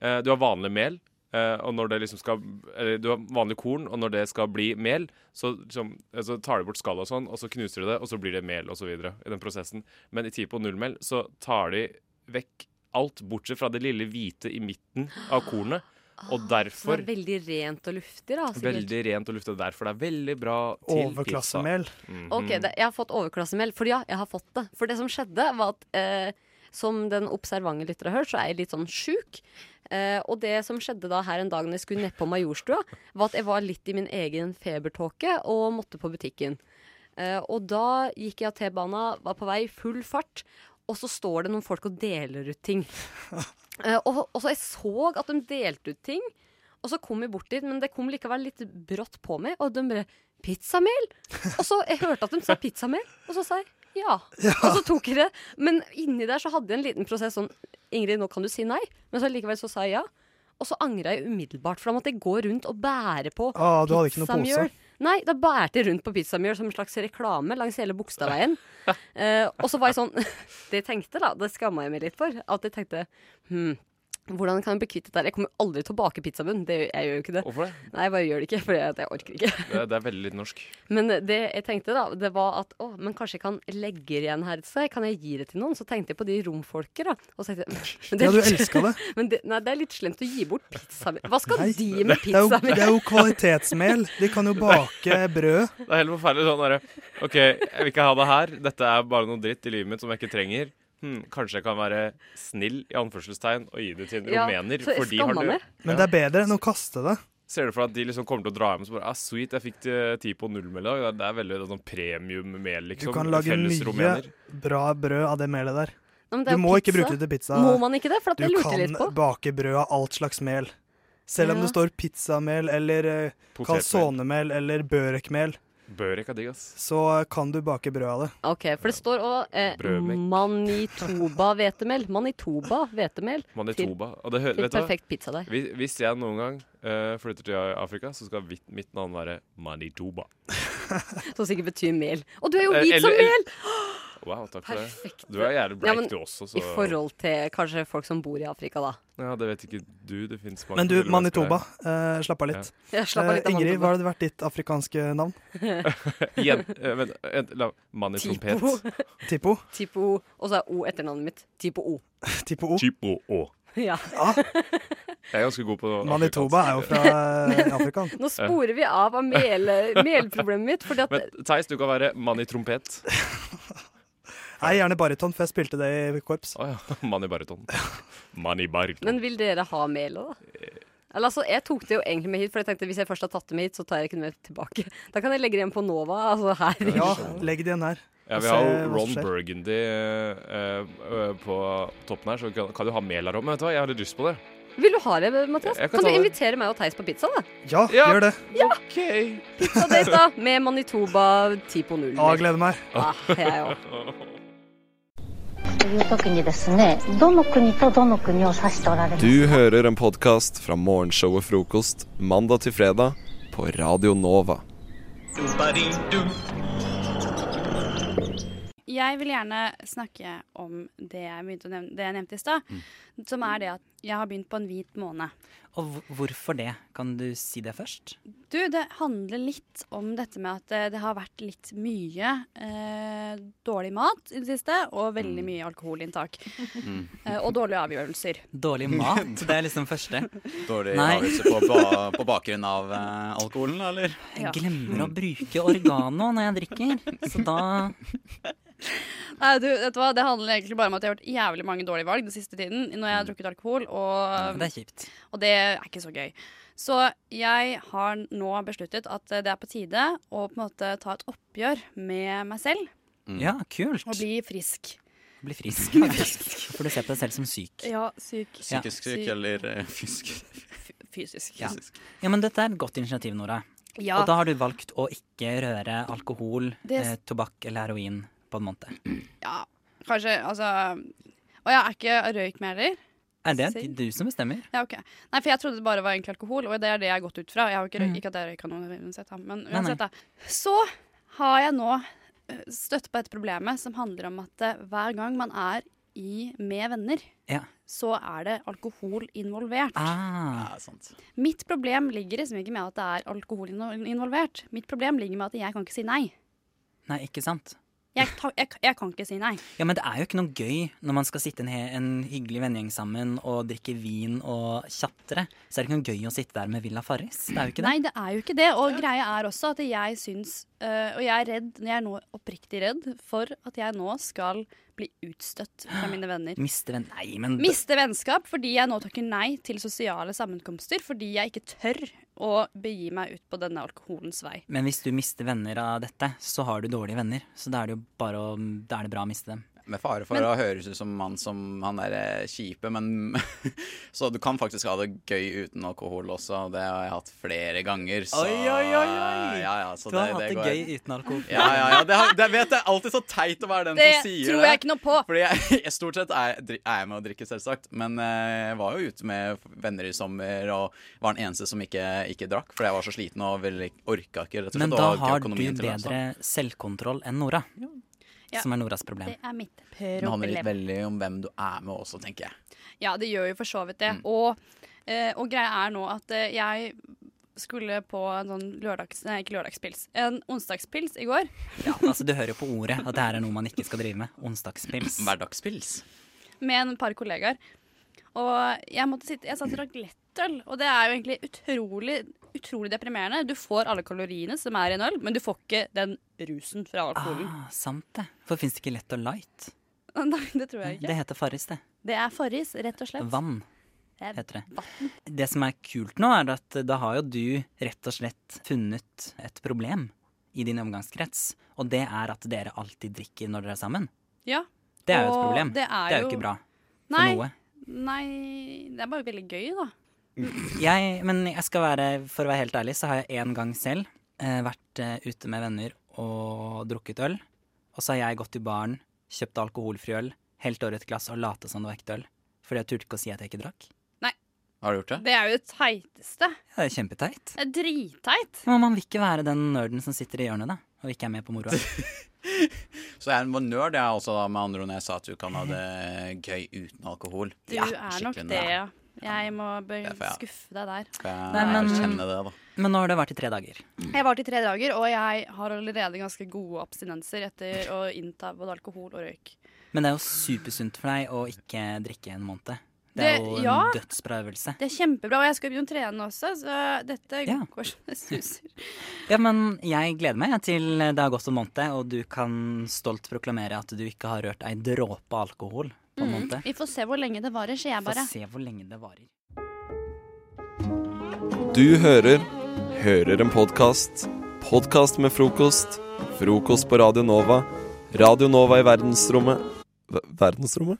S13: eh, Du har vanlig mel, eh, og når det liksom skal Eller du har vanlig korn, og når det skal bli mel, så, liksom, eh, så tar de bort skallet og sånn, og så knuser de det, og så blir det mel, og så videre, i den prosessen. Men i Tipo nullmel så tar de vekk alt bortsett fra det lille hvite i midten av kornet,
S14: Ah,
S13: og
S15: Så
S13: derfor
S15: det er veldig rent og luftig, da. sikkert.
S13: Veldig rent og luftet. Derfor det er veldig bra til
S14: Overklassemel.
S13: pizza. Mhm.
S15: Ok, det, jeg har fått overklassemel. For ja, jeg har fått det. For det som skjedde, var at eh, som den observante lytter har hørt, så er jeg litt sånn sjuk. Eh, og det som skjedde da her en dag når jeg skulle ned på Majorstua, var at jeg var litt i min egen febertåke og måtte på butikken. Eh, og da gikk jeg av T-bana, var på vei i full fart, og så står det noen folk og deler ut ting. Eh, og, og så jeg så at de delte ut ting, og så kom jeg bort dit, men det kom likevel litt brått på meg, og de bare 'Pizzamel?' Og så jeg hørte at de sa 'pizzamel', og så sa jeg ja. Og så tok jeg det. Men inni der så hadde jeg en liten prosess sånn 'Ingrid, nå kan du si nei', men så likevel så sa jeg ja. Og så angra jeg umiddelbart, for da måtte jeg gå rundt og bære på
S14: Ah, du hadde ikke noe pose?
S15: Nei, da bærte jeg rundt på pizzamjøl som en slags reklame langs hele Bogstadveien. Eh, og så var jeg sånn Det jeg tenkte da, det skamma jeg meg litt for. At jeg tenkte hm, hvordan kan jeg bli kvitt dette? her? Jeg kommer jo aldri til å bake pizzabunn. Det, jeg gjør jo ikke det.
S13: Hvorfor det?
S15: Nei, jeg bare gjør det ikke, for jeg orker ikke.
S13: Det, det er veldig lite norsk.
S15: Men det jeg tenkte da, det var at å, men kanskje jeg kan legge det igjen her et sted? Kan jeg gi det til noen? Så tenkte jeg på de romfolket, da. Og så tenkte jeg men det
S14: Ja,
S15: er
S14: du
S15: litt-
S14: elsket
S15: Men det, nei, det er litt slemt å gi bort pizza mi. Hva skal
S14: Nei,
S15: de
S14: det
S15: med
S14: er, jo,
S15: pizza mi?
S14: det er jo kvalitetsmel. De kan jo bake brød.
S13: Det er helt forferdelig sånn derre OK, jeg vil ikke ha det her. Dette er bare noe dritt i livet mitt som jeg ikke trenger. Hm, kanskje jeg kan være snill i anførselstegn og gi det til en
S15: Ja,
S13: rumener.
S15: så jeg
S13: For de har
S15: skammer
S13: det.
S15: meg.
S14: Men det er bedre enn å kaste det.
S13: Ser du for deg at de liksom kommer til å dra hjem og så bare ah, Sweet, jeg fikk til ti på null med i dag. Det er veldig det er sånn premium mel,
S14: Du
S13: liksom.
S14: kan lage
S13: Felles
S14: mye
S13: rumener.
S14: bra brød av det melet der.
S15: Nei, men det er
S14: Du
S15: jo
S14: må ikke
S15: pizza.
S14: bruke det til pizza.
S15: Må man ikke det? For at
S14: du
S15: jeg lurte litt på.
S14: kan bake brød av alt slags mel. Selv om
S15: Ja.
S14: det står pizzamel eller eh,
S13: Potetmel.
S14: calzonemel eller børekmel,
S13: Bør ikke ha digg, ass.
S14: så kan du bake brød av det.
S15: Ok, for det står òg eh,
S13: Brødmek.
S15: Manitoba-hvetemel. Manitoba-hvetemel.
S13: Manitoba. Og det hø-
S15: til
S13: vet du hva?
S15: perfekt pizzadeig.
S13: Hvis- Hvis jeg noen gang eh, flytter til Afrika, så skal mitt, mitt navn være Manitoba.
S15: Til, som sikkert betyr mel. Og du er jo
S13: Eh,
S15: hvit som
S13: eller- eller-
S15: mel!
S13: Wow, takk for
S15: Perfekt.
S13: det. Du er gjerne
S15: Ja,
S13: bleik,
S15: men
S13: du også, så
S15: I forhold til kanskje folk som bor i Afrika, da.
S13: Ja, det vet ikke du. Det fins mange
S14: Men du,
S13: forskjellige
S14: Manitoba,
S13: mennesker
S14: eh, slapp av litt.
S15: Ja. Ja, slapp av
S14: Eh,
S15: litt av
S14: Ingrid,
S15: Manitoba.
S14: hva hadde vært ditt afrikanske navn?
S13: der. Igjen. eh, Vent, vent, la Manitompet.
S14: Tipo?
S15: Tipo O. Og så er O etternavnet mitt. Tipo O.
S14: Tipo O.
S13: Tipo O.
S15: Ja.
S13: Jeg er ganske god på
S14: Manitoba er jo fra eh, Afrika.
S15: Nå sporer vi av av mel, melproblemet mitt, fordi at
S13: Men Theis, du kan være Manitrompet.
S14: Nei, gjerne baryton, for jeg spilte det i korps.
S13: Mani Bariton. Mani Bariton.
S15: Men vil dere ha mel òg, da? Eller, altså, jeg tok det jo egentlig med hit, for jeg tenkte hvis jeg først har tatt det med hit, så tar jeg ikke det med tilbake. Da kan jeg legge det igjen på Nova. Altså her.
S14: Ja, legg det igjen her.
S13: Ja,
S14: Og
S13: vi
S14: se
S13: har
S14: hva
S13: jo
S14: som
S13: Ron
S14: skjer.
S13: Burgundy eh, eh, på toppen her, så kan, kan du ha mel her òg. Men vet du hva, jeg har litt lyst på det.
S15: Vil du ha det, Mathias?
S13: Jeg
S15: Kan,
S13: kan
S15: du
S13: ta det.
S15: invitere meg og Theis på pizza, da?
S14: Ja, gjør det.
S15: Ja!
S13: Okay.
S15: Pizzadate, da, med Manitoba 10 på 0.
S14: Ja, gleder meg.
S15: Ah, jeg òg.
S5: という時にですねどの国とどの国を指しておられます
S1: Du hører en podkast fra morgenshowet Frokost mandag til fredag på Radio Nova.
S18: Jeg vil gjerne snakke om det jeg, begynte å nevne, det jeg nevnte i stad.
S12: Mm.
S18: Som er det at jeg har begynt på en hvit måned.
S12: Og hvor- hvorfor det? Kan du si det først?
S18: Du, det handler litt om dette med at eh, det, det har vært litt mye eh, dårlig mat i det siste, og veldig mye alkoholinntak.
S12: Mm.
S18: Eh, og dårlige avgjørelser.
S12: Dårlig mat, det er liksom første.
S19: Dårlig
S12: Nei.
S19: avgjørelse på, ba på bakgrunn av eh, alkoholen, da, eller?
S12: Jeg glemmer å bruke oregano når jeg drikker, så da
S18: Nei, du, vet du hva? Det handler egentlig bare om at jeg har gjort jævlig mange dårlige valg den siste tiden når jeg har drukket alkohol, og
S12: Mm. Det er kjipt.
S18: Og det er ikke så gøy. Så jeg har nå besluttet at eh, det er på tide å på en måte ta et oppgjør med meg selv
S12: Ja, kult.
S18: og bli frisk.
S12: Bli frisk, faktisk. For du ser på deg selv som syk.
S18: Ja, syk.
S19: Psykisk syk eller eh, fysisk?
S18: Fysisk.
S12: Ja. ja, men dette er et godt initiativ, Nora.
S18: Ja.
S12: Og da har du valgt å ikke røre alkohol,
S18: Det s-
S12: eh, tobakk eller heroin på en måned.
S18: Ja, kanskje, altså... Og jeg er ikke røyk med heller.
S12: Er det
S18: Syk.
S12: du som bestemmer?
S18: Ja, ok. Nei, for jeg trodde det bare var egentlig alkohol, og det er det jeg har gått ut fra. Jeg har jo ikke, røy-
S12: Mm.
S18: ikke at jeg røyka noe uansett, da, men
S12: Nei, nei.
S18: uansett, da. Så har jeg nå eh, støtt på dette problemet som handler om at eh, hver gang man er i, med venner,
S12: Ja.
S18: så er det alkohol involvert.
S12: Ah.
S18: Mitt problem ligger liksom ikke med at det er alkohol inno- involvert. Mitt problem ligger med at jeg kan ikke si nei.
S12: Nei, ikke sant?
S18: Jeg, ta, jeg, jeg kan ikke si nei.
S12: Ja, men det er jo ikke noe gøy når man skal sitte en, he en hyggelig vennegjeng sammen og drikke vin og tjatre. Så er det ikke noe gøy å sitte der med Villa Farris. Det er jo ikke det.
S18: Nei, det er jo ikke det. Og greia er også at jeg syns øh, Og jeg er redd, jeg er nå oppriktig redd for at jeg nå skal bli utstøtt fra mine venner.
S12: Miste venn... Nei, men
S18: Miste vennskap fordi jeg nå takker nei til sosiale sammenkomster fordi jeg ikke tør å begi meg ut på denne alkoholens vei.
S12: Men hvis du mister venner av dette, så har du dårlige venner. Så da er det jo bare å, da er det bra å miste dem.
S19: Med fare for
S12: Men-
S19: å høres ut som han som han er eh, kjipe, men Så du kan faktisk ha det gøy uten alkohol også, og det har jeg hatt flere ganger, så
S12: Oi, oi, oi, oi.
S19: Ja, ja, så
S12: Du har hatt det
S19: går.
S12: gøy uten alkohol.
S19: Ja, ja, ja. Det, har, det vet jeg alltid så teit å være den
S18: Det
S19: som sier det.
S18: tror jeg ikke noe på.
S19: Fordi jeg, jeg stort sett er, dri- er jeg med å drikke, selvsagt. Men eh, jeg var jo ute med venner i sommer og var den eneste som ikke, ikke drakk. Fordi jeg var så sliten og ville, orka ikke, rett og slett.
S12: Men
S19: og
S12: da
S19: ikke
S12: har du
S19: økonomien til det, så.
S12: bedre selvkontroll enn Nora. Som er Noras problem.
S18: Det er mitt
S19: Det handler litt
S18: problem.
S19: veldig om hvem du er med også, tenker jeg.
S18: Ja, det gjør jo for så vidt det.
S19: Mm.
S18: Og, eh, og greia er nå at eh, jeg skulle på en sånn lørdags... Nei, ikke lørdagspils. En onsdagspils i går.
S12: Ja, altså Du hører jo på ordet at det her er noe man ikke skal drive med. Onsdagspils.
S19: Hverdagspils.
S18: med en par kollegaer. Og jeg måtte sitte Jeg satt og drakk lettøl, og det er jo egentlig utrolig Utrolig deprimerende. Du får alle kaloriene som er i en øl, men du får ikke den rusen fra alkoholen.
S12: Ah, sant det. For fins det ikke lett og light?
S18: Nei, det tror jeg
S12: Ah.
S18: ikke.
S12: Det heter Farris, det.
S18: Det er Farris, rett og slett.
S12: Vann
S18: Det er
S12: heter det. Det som er kult nå, er at da har jo du rett og slett funnet et problem i din omgangskrets. Og det er at dere alltid drikker når dere er sammen.
S18: Ja.
S12: Det er jo et
S18: Og
S12: problem.
S18: det
S12: Det
S18: er
S12: er, jo
S18: jo-
S12: ikke bra for
S18: Nei.
S12: noe.
S18: Nei, det er bare veldig gøy, da.
S12: Jeg, men jeg skal være, for å være helt ærlig, så har jeg en gang selv eh, vært eh, ute med venner og drukket øl. Og så har jeg gått i baren, kjøpt alkoholfri øl, helt over et glass og late som det var ekte øl. Fordi jeg turte ikke å si at jeg ikke drakk.
S18: Nei.
S12: Har du gjort
S18: Det er jo det teiteste.
S12: Ja, det er kjempeteit.
S18: Det er dritteit.
S12: Ja, Men man vil ikke være den nerden som sitter i hjørnet, da. Og ikke er med på moroa.
S19: Så jeg var nerd, jeg også, da, med andre ord, når jeg sa at du kan ha det gøy uten alkohol.
S18: Du er nok
S19: skikkelig
S18: det,
S19: nerd.
S18: ja. Jeg må be-
S19: Derfor, ja.
S18: skuffe deg der.
S19: Får jeg
S12: Nei, men-
S19: erkjenne det, da.
S12: Men nå har det vært i tre dager.
S18: Jeg varte i tre dager, og jeg har allerede ganske gode abstinenser etter å innta både alkohol og røyk.
S12: Men det er jo supersunt for deg å ikke drikke en måned. Det
S18: Det-
S12: er jo
S18: ja.
S12: en dødsbra øvelse.
S18: Det er kjempebra, og jeg skal begynne å trene også, så dette
S12: Ja.
S18: går som det suser.
S12: Ja, men jeg gleder meg til det har gått en måned, og du kan stolt proklamere at du ikke har rørt ei dråpe alkohol på en
S18: Mm.
S12: måned.
S18: Vi får se hvor lenge det varer, sier jeg
S12: Få
S18: bare.
S12: se hvor lenge det varer.
S1: Du hører Hører en podkast. Podkast med frokost. Frokost på Radio Nova. Radio Nova i verdensrommet Ver- Verdensrommet?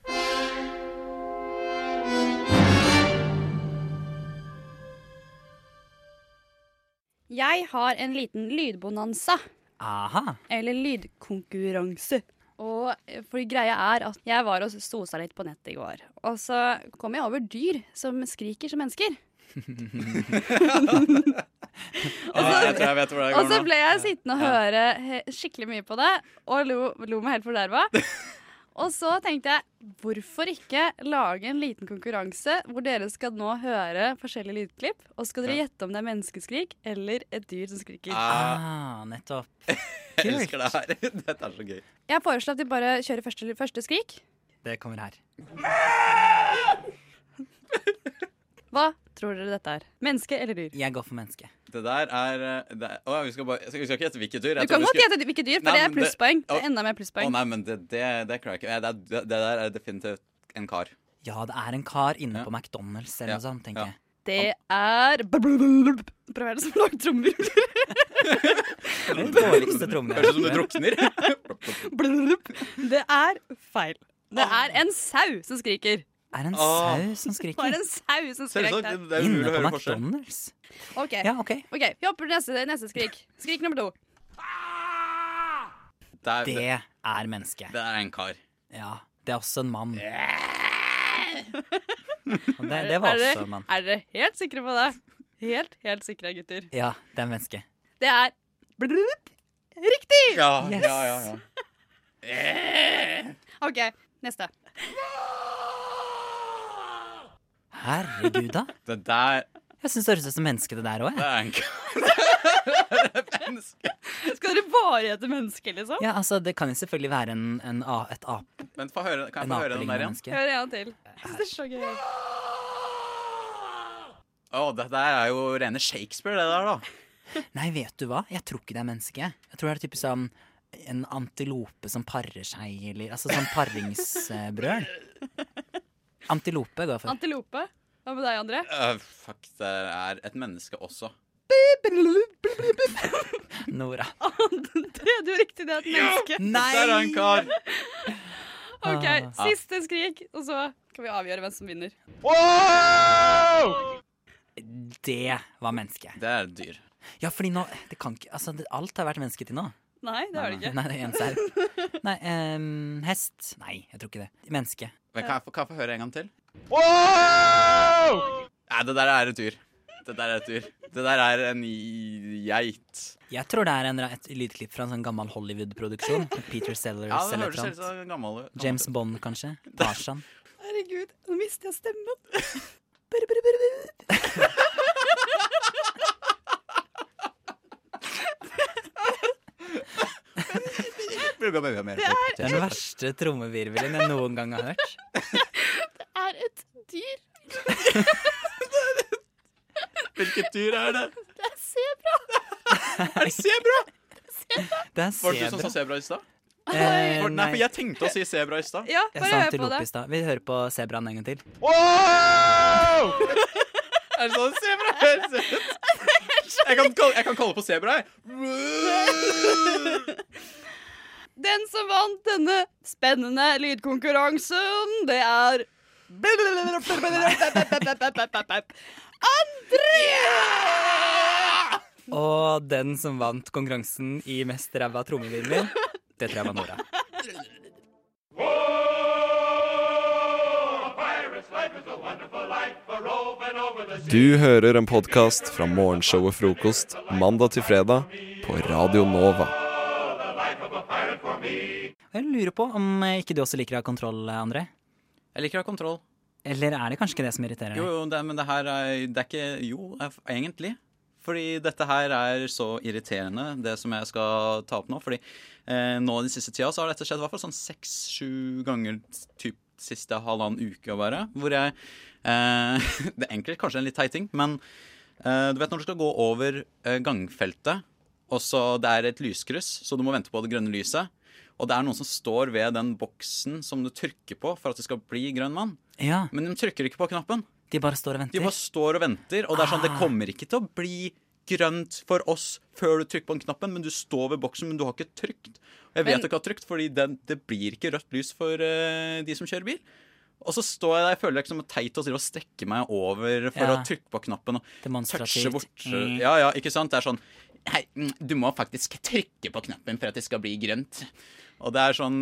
S18: Jeg har en liten lydbonanza.
S12: Aha.
S18: Eller lydkonkurranse. Og eh, fordi greia er at jeg var og stosa litt på nettet i går. Og så kom jeg over dyr som skriker som mennesker.
S19: Ja, jeg tror jeg vet hvor det
S18: Og
S19: går
S18: så
S19: nå.
S18: ble jeg sittende og høre he- skikkelig mye på det, og lo, lo meg helt forderva. Og så tenkte jeg, hvorfor ikke lage en liten konkurranse hvor dere skal nå høre forskjellige lydklipp, og skal dere gjette om det er menneskeskrik eller et dyr som skriker.
S12: Ah, nettopp.
S19: Jeg elsker det her. Dette er så gøy.
S18: Jeg foreslår at vi bare kjører første, første skrik.
S12: Det kommer her.
S18: Hva tror dere dette er? Menneske eller dyr?
S12: Jeg går for menneske.
S19: Det der er eh, det, er- Å, vi skal, bare, vi skal ikke gjette hvilket dyr.
S18: Du kan godt gjette hvilket dyr, for det er plusspoeng. Det er enda mer
S19: Å
S18: plusspoeng.
S19: nei, men det, det, det klarer jeg ikke. Det, er- det der er definitivt en kar.
S12: Ja, det er en kar inne på McDonald's eller noe sånt, Altså, tenker jeg.
S18: Det er Prøv å være det som lager trommer.
S12: Det er dårligste trommene jeg
S19: Høres
S12: har
S19: ut som du
S12: hørt.
S19: drukner.
S18: Det er feil. Det er en sau som skriker.
S12: Er en
S19: Ah.
S12: sau som
S18: Det
S12: skriker?
S18: var en sau som skrek
S19: Selvsagt.
S18: der.
S19: Det er umulig
S12: Inne
S19: å
S12: på
S19: høre forskjell.
S12: McDonald's?
S18: Ok,
S12: Ja, ok.
S18: ok, Vi hopper til neste, neste skrik. Skrik nummer to.
S19: Det er,
S12: Det er menneske.
S19: det er en kar.
S12: Ja. Det er også en mann. Og Det,
S18: Er-
S12: det var
S18: er dere-
S12: også en mann.
S18: Er dere helt sikre på det? Helt, helt sikre, gutter.
S12: Ja, det er en menneske.
S18: Det er blub. Riktig!
S19: Ja,
S12: Yes.
S19: ja, ja, ja.
S18: OK, neste.
S12: Herregud, da.
S19: Det der
S12: Jeg syns det høres ut som menneske, det der òg.
S19: Det er en kar.
S18: Skal dere bare gjette mennesker, liksom?
S12: Ja, altså, det kan jo selvfølgelig være en, en, a- et ape.
S19: Vent, få høre, kan jeg
S12: En
S19: få høre den
S12: apelignende
S19: der igjen?
S12: menneske.
S18: Hør en gang til. Det er så gøy.
S19: Å, det der er jo rene Shakespeare, det der, da.
S12: Nei, vet du hva? Jeg tror ikke det er menneske. Jeg tror det er typisk sånn en antilope som parer seg, eller altså sånn paringsbrøl. Antilope går jeg for.
S18: Antilope. Hva med deg, André?
S19: Øh, fuck, det er et menneske også.
S12: Nora.
S18: André, du riktig det er et menneske.
S19: Der er en kar.
S18: OK,
S12: Ah.
S18: siste skrik, og så kan vi avgjøre hvem som vinner.
S12: Det var menneske.
S19: Det er et dyr.
S12: Ja, fordi nå det kan ikke, altså, det, Alt har vært menneske til nå.
S18: Nei, det har det ikke.
S12: Nei, det er en sau. Nei, em, hest. Nei, jeg tror ikke det. Menneske.
S19: Men kan jeg, få, kan jeg få høre en gang til? Nei, det der er et dyr. Det der er et dyr. Det der er en i- geit.
S12: Jeg tror det er en, et lydklipp fra en sånn gammel Hollywood-produksjon. Peter Sellers
S19: Ja, det
S12: eller
S19: høres
S12: et
S19: helt
S12: eller annet.
S19: sånn gammel ut.
S12: James Bond, kanskje. Tarzan.
S18: Herregud, nå mister jeg stemmen.
S12: Det er den verste trommevirvelen jeg noen gang har hørt.
S18: Det er et dyr.
S19: Hvilket dyr er det?
S18: Det er sebra.
S19: Er det sebra?
S12: Det er
S19: Var det du som sa
S12: sebra.
S19: sebra i stad?
S12: Eh,
S19: For- nei,
S12: nei.
S19: for jeg tenkte å si sebra i stad.
S18: Ja,
S12: Jeg sa antilope i stad. Vi hører på sebraen en gang til.
S19: Er det sånn sebra høres ut? Jeg kan, kalle- jeg kan kalle på sebra, jeg.
S18: Den som vant denne spennende lydkonkurransen, det er André!
S12: Og den som vant konkurransen i mest ræva trommevirvler, det tror jeg var Nora.
S1: Du hører en podkast fra morgenshowet Frokost mandag til fredag på Radio Nova.
S12: Jeg lurer på om eh, ikke du også liker å ha kontroll, eh, André?
S19: Jeg liker å ha kontroll.
S12: Eller er det kanskje ikke det som irriterer
S19: Jo,
S12: deg?
S19: jo, det, men det her er, det er ikke Jo, er- egentlig. Fordi dette her er så irriterende, det som jeg skal ta opp nå. Fordi eh, nå den siste tida så har dette skjedd i hvert fall sånn seks-sju ganger typ siste halvannen uke å være. Hvor jeg eh, Det er enkelt, kanskje en litt teit ting, men eh, du vet når du skal gå over eh, gangfeltet, og så det er et lyskryss, så du må vente på det grønne lyset. Og det er noen som står ved den boksen som du trykker på for at det skal bli grønn mann.
S12: Ja,
S19: Men de trykker ikke på knappen.
S12: De bare står og venter. Ah.
S19: De bare står og venter, og det er sånn, det kommer ikke til å bli grønt for oss før du trykker på den knappen, men du står ved boksen, men du har ikke trykt. Og jeg vet
S12: Men-
S19: at du ikke har trykt, fordi den, det blir ikke rødt lys for eh, de som kjører bil. Og så står jeg der, jeg føler det ikke som en teit å drive og strekke meg over for
S12: Ja.
S19: å trykke på knappen og
S12: Demonstrativt.
S19: touche bort.
S12: Mm.
S19: Ja, ja, ikke sant? Det er sånn, hei, mm, du må faktisk trykke på knappen for at det skal bli grønt. Og det er sånn,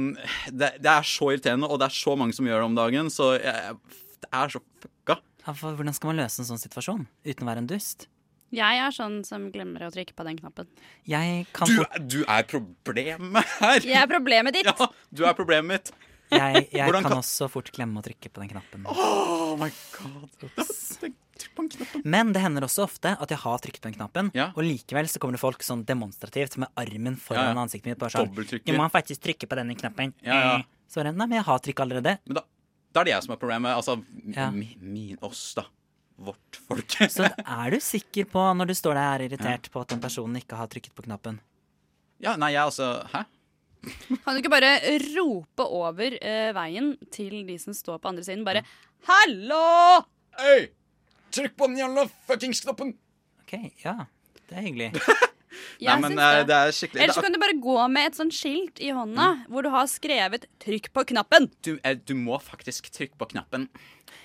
S19: det, det er så irriterende, og det er så mange som gjør det om dagen, så jeg, det er så fucka.
S12: Ja, for Hvordan skal man løse en sånn situasjon uten å være en dust?
S18: Jeg er sånn som glemmer å trykke på den knappen.
S12: Jeg kan
S19: Du, du er problemet her!
S18: Jeg er problemet ditt.
S19: Ja, du er problemet mitt.
S12: Jeg, jeg
S19: Hvordan
S12: kan,
S19: kan-
S12: også fort glemme å trykke på den knappen.
S19: Oh my god. Trykk på den knappen.
S12: Men det hender også ofte at jeg har trykt på den knappen, og likevel så kommer det folk sånn demonstrativt med armen foran
S19: Ja, ja.
S12: ansiktet mitt. Bare sånn,
S19: Dobbelttrykker.
S12: du må faktisk trykke på denne knappen. Eh,
S19: Ja, ja.
S12: Så bare, nei, men jeg har trykk allerede.
S19: Men da, da er det jeg som er problemet. Altså, m-
S12: Ja.
S19: mi- min, oss, da. Vårt folk.
S12: Så er du sikker på, når du står der og er irritert på at den personen ikke har trykket på knappen
S19: Ja, nei, jeg altså Hæ?
S18: Kan du ikke bare rope over eh, veien til de som står på andre siden? Bare 'hallo'!
S19: Hei! Trykk på den jævla fuckings knappen!
S12: OK, ja. Det er hyggelig.
S18: Jeg
S19: nei, men
S18: syns
S19: eh, det er skikkelig
S18: Ellers så kan du bare gå med et sånt skilt i hånda
S19: Mm.
S18: hvor du har skrevet 'trykk på knappen'.
S19: du, eh, du må faktisk trykke på knappen.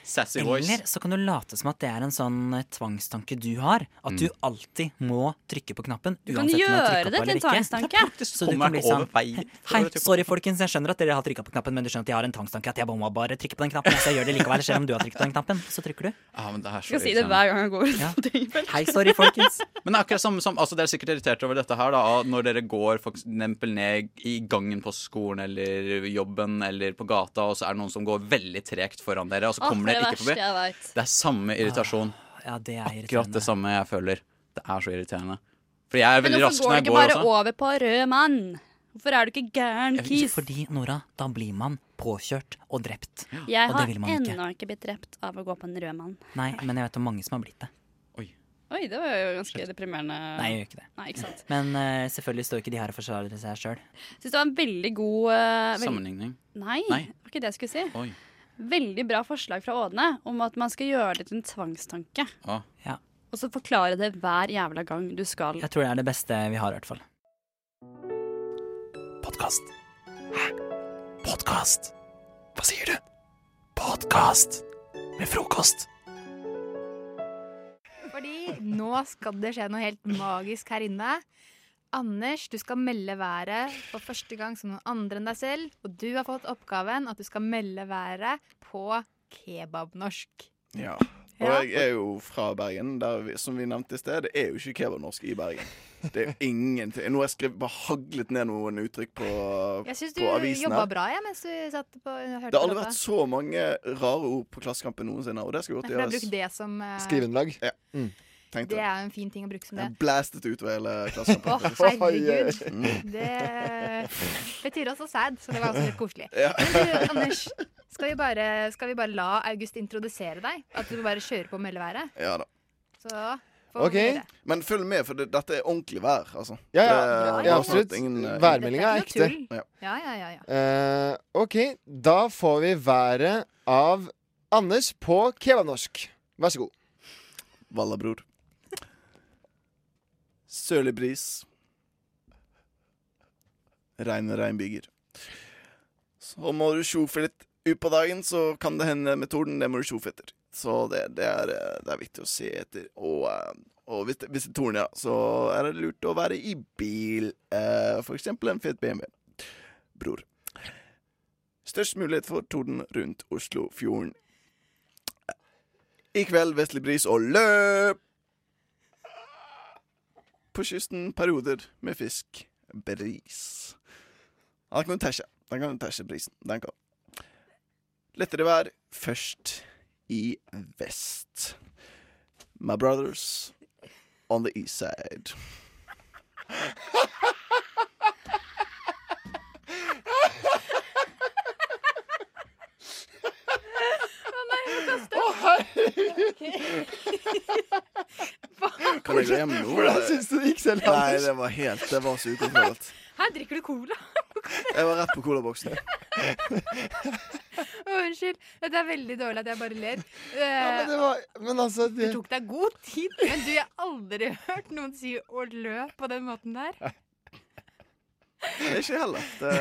S19: Sassy voice.
S12: Eller så kan du late som at det er en sånn eh, tvangstanke du har. At du
S19: Mm.
S12: alltid må trykke på knappen.
S18: Du kan
S12: uansett om jeg
S18: gjøre
S12: trykker på
S18: det til en
S12: eller ikke.
S18: tvangstanke.
S12: Så du
S19: kommer
S12: kan bli
S19: jeg ikke
S12: sånn
S19: over veien
S12: Hei, sorry folkens, jeg skjønner at dere har trykka på knappen, men du skjønner at jeg har en tvangstanke at jeg må bare trykke på den knappen. Så jeg gjør det likevel, selv om du har trykket på den knappen. Så trykker du.
S19: Ja, men det er så
S18: Skal si det
S19: irriterende.
S18: hver gang jeg går ut.
S12: Hei, sorry, folkens.
S19: Men det er akkurat samme som, altså dere er sikkert irritert over dette her da, av når dere går for eksempel ned i gangen på skolen eller jobben eller på gata, og så er det noen som går veldig tregt foran dere, og så
S18: Åh,
S19: kommer
S18: det
S19: dere
S18: verste
S19: ikke forbi.
S18: jeg vet.
S19: Det er samme irritasjon.
S12: Ah, Ja, det er
S19: Akkurat det samme jeg føler. Det er så irriterende. For jeg er
S18: Men
S19: veldig
S18: hvorfor
S19: rask
S18: går
S19: når
S18: du
S19: jeg går
S18: ikke
S19: sånn.
S18: bare
S19: også.
S18: over på rød mann? Hvorfor er du ikke gæren, kis?
S12: Fordi, Nora, da blir man påkjørt og drept.
S18: Jeg
S12: og det
S18: har
S12: vil man ikke.
S18: ennå ikke blitt drept av å gå på en rød mann.
S12: Nei, men jeg vet om mange som har blitt det.
S18: Oi, det var jo ganske deprimerende.
S12: Nei, jeg gjør ikke det.
S18: Nei, ikke sant.
S12: Men eh, selvfølgelig står ikke de her og forsvarer seg sjøl.
S18: Syns det var en veldig god eh, vel-
S12: Sammenligning.
S18: Nei,
S12: Nei.
S18: det var ikke det jeg skulle si.
S19: Oi.
S18: Veldig bra forslag fra Ådne om at man skal gjøre det til en tvangstanke.
S19: Ja.
S12: Ja.
S18: Og så forklare det hver jævla gang du skal
S12: Jeg tror det er det beste vi har, i hvert fall.
S1: Podkast. Hæ? Podkast? Hva sier du? Podkast med frokost.
S20: Fordi nå skal det skje noe helt magisk her inne. Anders, du skal melde været for første gang som noen andre enn deg selv. Og du har fått oppgaven at du skal melde været på kebabnorsk.
S21: Ja. Og
S20: Ja.
S21: jeg er jo fra Bergen, der vi, som vi nevnte i sted. Det er jo ikke kebabnorsk i Bergen. Det er jo ingenting. Nå har jeg skrevet, bare haglet ned noen uttrykk på,
S20: Jeg syns du
S21: på avisen
S20: jobba
S21: her.
S20: bra jeg, mens du satt på hørte
S21: Det har aldri vært så mange rare ord på Klassekampen noensinne, og det skal godt
S20: Derfor har jeg brukt
S21: gjøres.
S20: det som eh,
S21: Skriveinnlag? Ja.
S22: Mm.
S21: Tenkte
S20: Det
S21: det.
S20: er jo en fin ting å bruke som det.
S21: Jeg blastet ut over hele Klassekampen.
S20: Å,
S21: faktisk.
S20: herregud.
S21: Mm.
S20: eh, Det betyr også sad, så det var også litt koselig.
S21: Ja.
S20: Men du, Anders, skal vi, bare, skal vi bare la August introdusere deg? At du bare kjører på meldeværet?
S21: Ja da.
S20: Så får vi høre.
S21: Men følg med, for det, dette er ordentlig vær, altså.
S22: Ja, ja,
S21: Det er
S22: ja,
S21: absolutt
S22: absolutt.
S21: ingen, eh,
S22: Værmeldinga
S20: Dette
S22: er
S20: er
S22: ekte.
S20: ikke noe tull. Ja, ja, ja. ja.
S22: Eh, OK, da får vi været av Anders på kebabnorsk. Vær så god.
S21: Valla, bror. Sørlig bris. reine reinbyger. Så må du sjofe litt ut på dagen, så kan det hende metoden. Det må du sjofe etter. Så det, det, er, eh, det er viktig å se etter. Og, eh, og hvis, det, hvis det torner, ja, så er det lurt å være i bil. eh, For eksempel en fet BMW. Bror. Størst mulighet for torden rundt Oslofjorden. I kveld vestlig bris og løp! På kysten perioder med fisk. Bris. Ja, Da kan du tæsje. Da kan du tæsje brisen. Den kan. Lettere vær først i vest. My brothers on the east side. Kan jeg gå hjem nå? Hvordan synes du det gikk selv, Nei, Anders? det var helt Det var så ukontrollert.
S18: Her drikker du cola.
S21: Jeg var rett på colaboksen.
S20: Å, unnskyld. Dette er veldig dårlig at jeg bare ler.
S21: men altså, det
S20: det...
S21: var-
S20: tok deg god tid, men du, jeg har aldri hørt noen si 'å lø' på den måten der.
S21: Ikke heller. Det,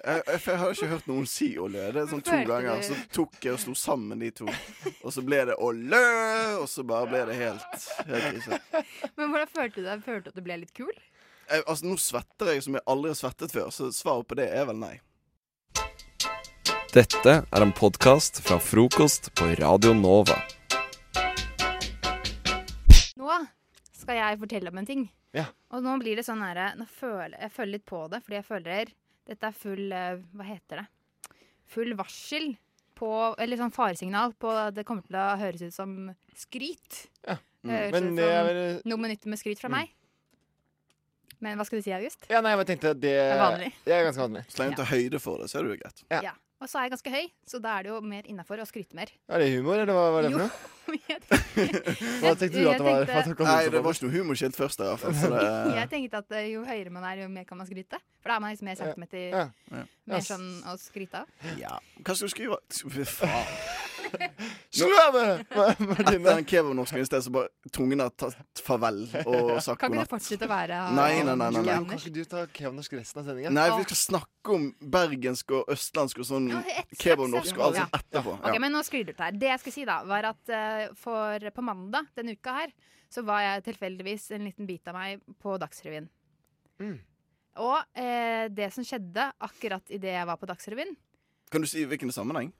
S21: jeg, jeg, for jeg har ikke hørt noen si Olø. Det er sånn to
S20: Følte
S21: ganger.
S20: du-
S21: Så tok jeg og slo sammen de to. Og så ble det Olø, og så bare ble det helt, helt krise.
S20: Men hvordan følte du deg? Følte du at du ble litt kul?
S21: Jeg, altså, nå svetter jeg som jeg aldri har svettet før, så svaret på det er vel nei.
S1: Dette er en podkast fra frokost på Radio Nova.
S20: Nå skal jeg fortelle om en ting.
S1: Ja.
S20: Og nå blir det sånn her nå føler, Jeg føler litt på det, fordi jeg føler Dette er full eh, Hva heter det? Full varsel på Eller sånn faresignal på Det kommer til å høres ut som skryt.
S22: Mm.
S20: Det høres
S22: Men
S20: ut
S22: det
S20: som
S22: er vel-
S20: noe med nytt med skryt fra
S22: Mm.
S20: meg. Men hva skal du si, August?
S22: Ja, nei, jeg bare tenkte at det
S20: er vanlig.
S22: Det er ganske vanlig.
S21: Så lenge du tar høyde for det, så er det jo greit.
S20: Ja. Og så er jeg ganske høy, så da er det jo mer innafor å skryte mer.
S22: Er det humor, eller hva var det for noe? Hva tenkte du at det var?
S20: tenkte-
S22: Hva tok du
S21: Nei,
S22: for
S21: det
S22: noe?
S21: var ikke noe humorskilt først der, i hvert fall. Så det
S20: Jeg tenkte at eh, jo høyere man er, jo mer kan man skryte. For da er man liksom mer centimeter
S21: Ja. Ja.
S20: mer sånn å skryte av.
S21: Ja. Hva skal du skrive? Fy Faen. Sløve! Etter den kebabnorsken i sted, så bare tungen har tatt farvel og sagt
S20: Kan ikke
S21: god natt.
S20: du fortsette å være
S21: Nei, nei, nei, nei, nei.
S20: Anders?
S22: ikke
S21: Kan
S22: du ta kebabnorsk resten av sendingen?
S21: Nei, vi skal snakke om bergensk og østlandsk og sånn
S20: Ja, et slags
S21: kebabnorsk og alt sånt
S20: Ja.
S21: etterpå.
S20: Ok, men nå sklir det ut her. Det jeg skulle si da, var at eh, for på mandag denne uka her, så var jeg tilfeldigvis en liten bit av meg på Dagsrevyen. Og eh, det som skjedde akkurat idet jeg var på Dagsrevyen,
S21: Kan du si hvilken sammenheng?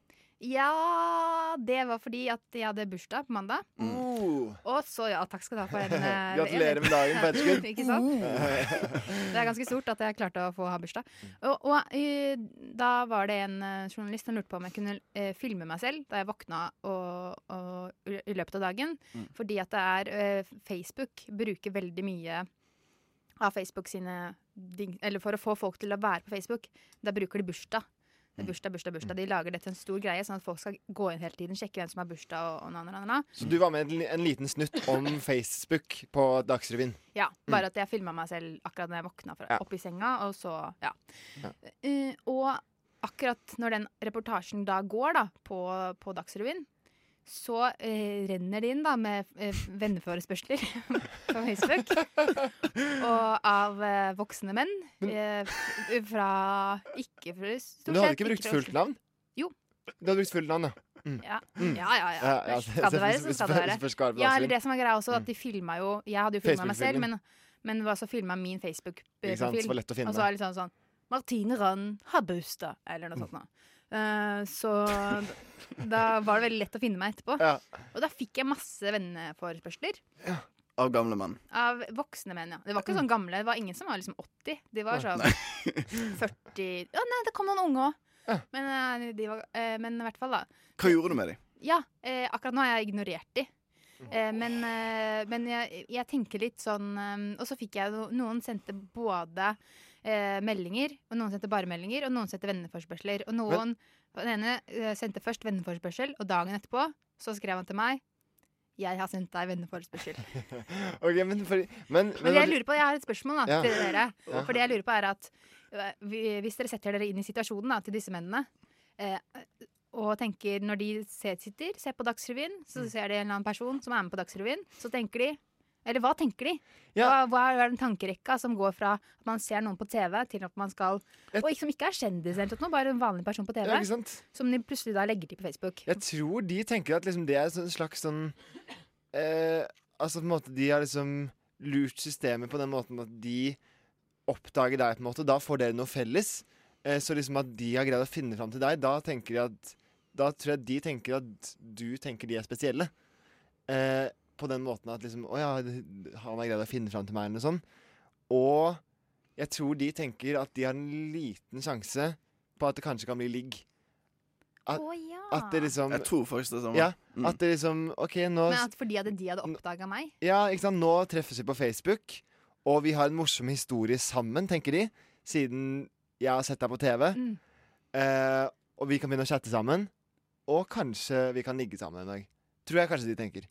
S20: ja, det var fordi at jeg hadde bursdag på mandag. Og så, ja, takk skal du ha for den. eh,
S22: Mm. Gratulerer med dagen, Mm. på etterskudd.
S20: Ikke sant?
S22: Eh,
S20: Det er ganske stort at jeg klarte å få ha bursdag. Og, og eh, da var det en eh, journalist som lurte på om jeg kunne eh, filme meg selv da jeg våkna og, og, i i løpet av dagen.
S11: Mm.
S20: Fordi at det er eh, Facebook bruker veldig mye av Facebook sine ding, Eller for å få folk til å være på Facebook, da bruker de bursdag. Det er bursdag, bursdag, bursdag. De lager det til en stor greie, sånn at folk skal gå inn hele tiden, sjekke hvem som har bursdag og, og na, na, na, na.
S22: Så du var med en, en liten snutt om Facebook på Dagsrevyen.
S20: Ja, bare at jeg filma meg selv akkurat da jeg våkna fra,
S22: Ja.
S20: opp i senga, og så ja.
S22: Ja.
S20: Eh, og akkurat når den reportasjen da går da, på, på Dagsrevyen, så eh, renner det inn da med uh, venneforespørsler på Facebook. og av eh, voksne menn eh, f- fra Ikke fra stort
S22: Men du hadde
S20: sett
S22: ikke brukt
S20: fra
S22: fullt
S20: Oslo.
S22: navn?
S20: Jo.
S22: Du hadde brukt fullt navn, ja. Mm.
S20: Ja.
S22: Mm.
S20: ja, ja, ja.
S22: Ja, ja,
S20: Skal det være, så skal det være.
S22: Spørs- spørs Garve, da,
S20: Ja, eller
S22: Sven.
S20: det som er greia også, at de filma jo Jeg hadde jo filma meg selv,
S22: Facebook-filmen.
S20: men, men det var så filma min
S22: Ikke sant, så
S20: Facebook-profil.
S22: var lett å
S20: Og
S22: finne.
S20: så var det litt sånn sånn Martine Rønn har bursdag, eller noe sånt noe. Eh, så da var det veldig lett å finne meg etterpå.
S21: Ja.
S20: Og da fikk jeg masse venneforespørsler
S21: Av gamle menn.
S20: av voksne menn, ja. Det var ikke sånn gamle, det var ingen som var liksom 80. De var sånn 40 Å nei, det kom noen unge òg. Men, eh, de var- eh, men i hvert fall, da.
S21: Hva gjorde du med dem?
S20: Ja, eh, akkurat nå har jeg ignorert de. Eh, men eh, men jeg, jeg tenker litt sånn eh, Og så fikk jeg no, Noen sendte både eh, meldinger, og noen sendte bare meldinger, og noen sendte venneforspørsler. Og noen
S22: Men-
S20: Den ene eh, sendte først venneforspørsel, og dagen etterpå så skrev han til meg 'Jeg har sendt deg venneforespørsel'.
S22: Ok, men, fordi- men,
S20: Men det jeg lurer på, jeg har et spørsmål da,
S22: Ja.
S20: til dere.
S22: Ja.
S20: For det jeg lurer på er at øh, vi- hvis dere setter dere inn i situasjonen da, til disse mennene, eh, og tenker
S22: Mm.
S20: når de ser, sitter, ser på Dagsrevyen, så ser de en eller annen person som er med på Dagsrevyen, så tenker de Eller hva tenker de? Hva, hva er den tankerekka som går fra at man ser noen på TV, til at man skal Og ikke- som ikke er kjendis, eller noe, bare en vanlig person på TV.
S22: Ja, ikke sant?
S20: Som de plutselig da legger til på Facebook.
S22: Jeg tror de tenker at liksom det er en slags sånn eh, Altså på en måte de har liksom lurt systemet på den måten at de oppdager deg, på en måte. Da får dere noe felles. Eh, så liksom at de har greid å finne fram til deg, da tenker de at Da tror jeg de tenker at du tenker de er spesielle. Eh, på den måten at liksom Å ja, han har greid å finne fram til meg, eller noe sånt. Og jeg tror de tenker at de har en liten sjanse på at det kanskje kan bli ligg. At, at det liksom
S21: Jeg tror faktisk det samme.
S22: Ja,
S21: Mm.
S22: At det liksom OK, nå
S20: Men at fordi at de hadde oppdaga meg
S22: ja, ikke sant? Nå treffes vi på Facebook, og vi har en morsom historie sammen, tenker de. Siden jeg har sett deg på TV.
S20: Mm.
S22: Eh, og vi kan begynne å chatte sammen. Og kanskje vi kan ligge sammen en dag. Tror jeg kanskje de tenker.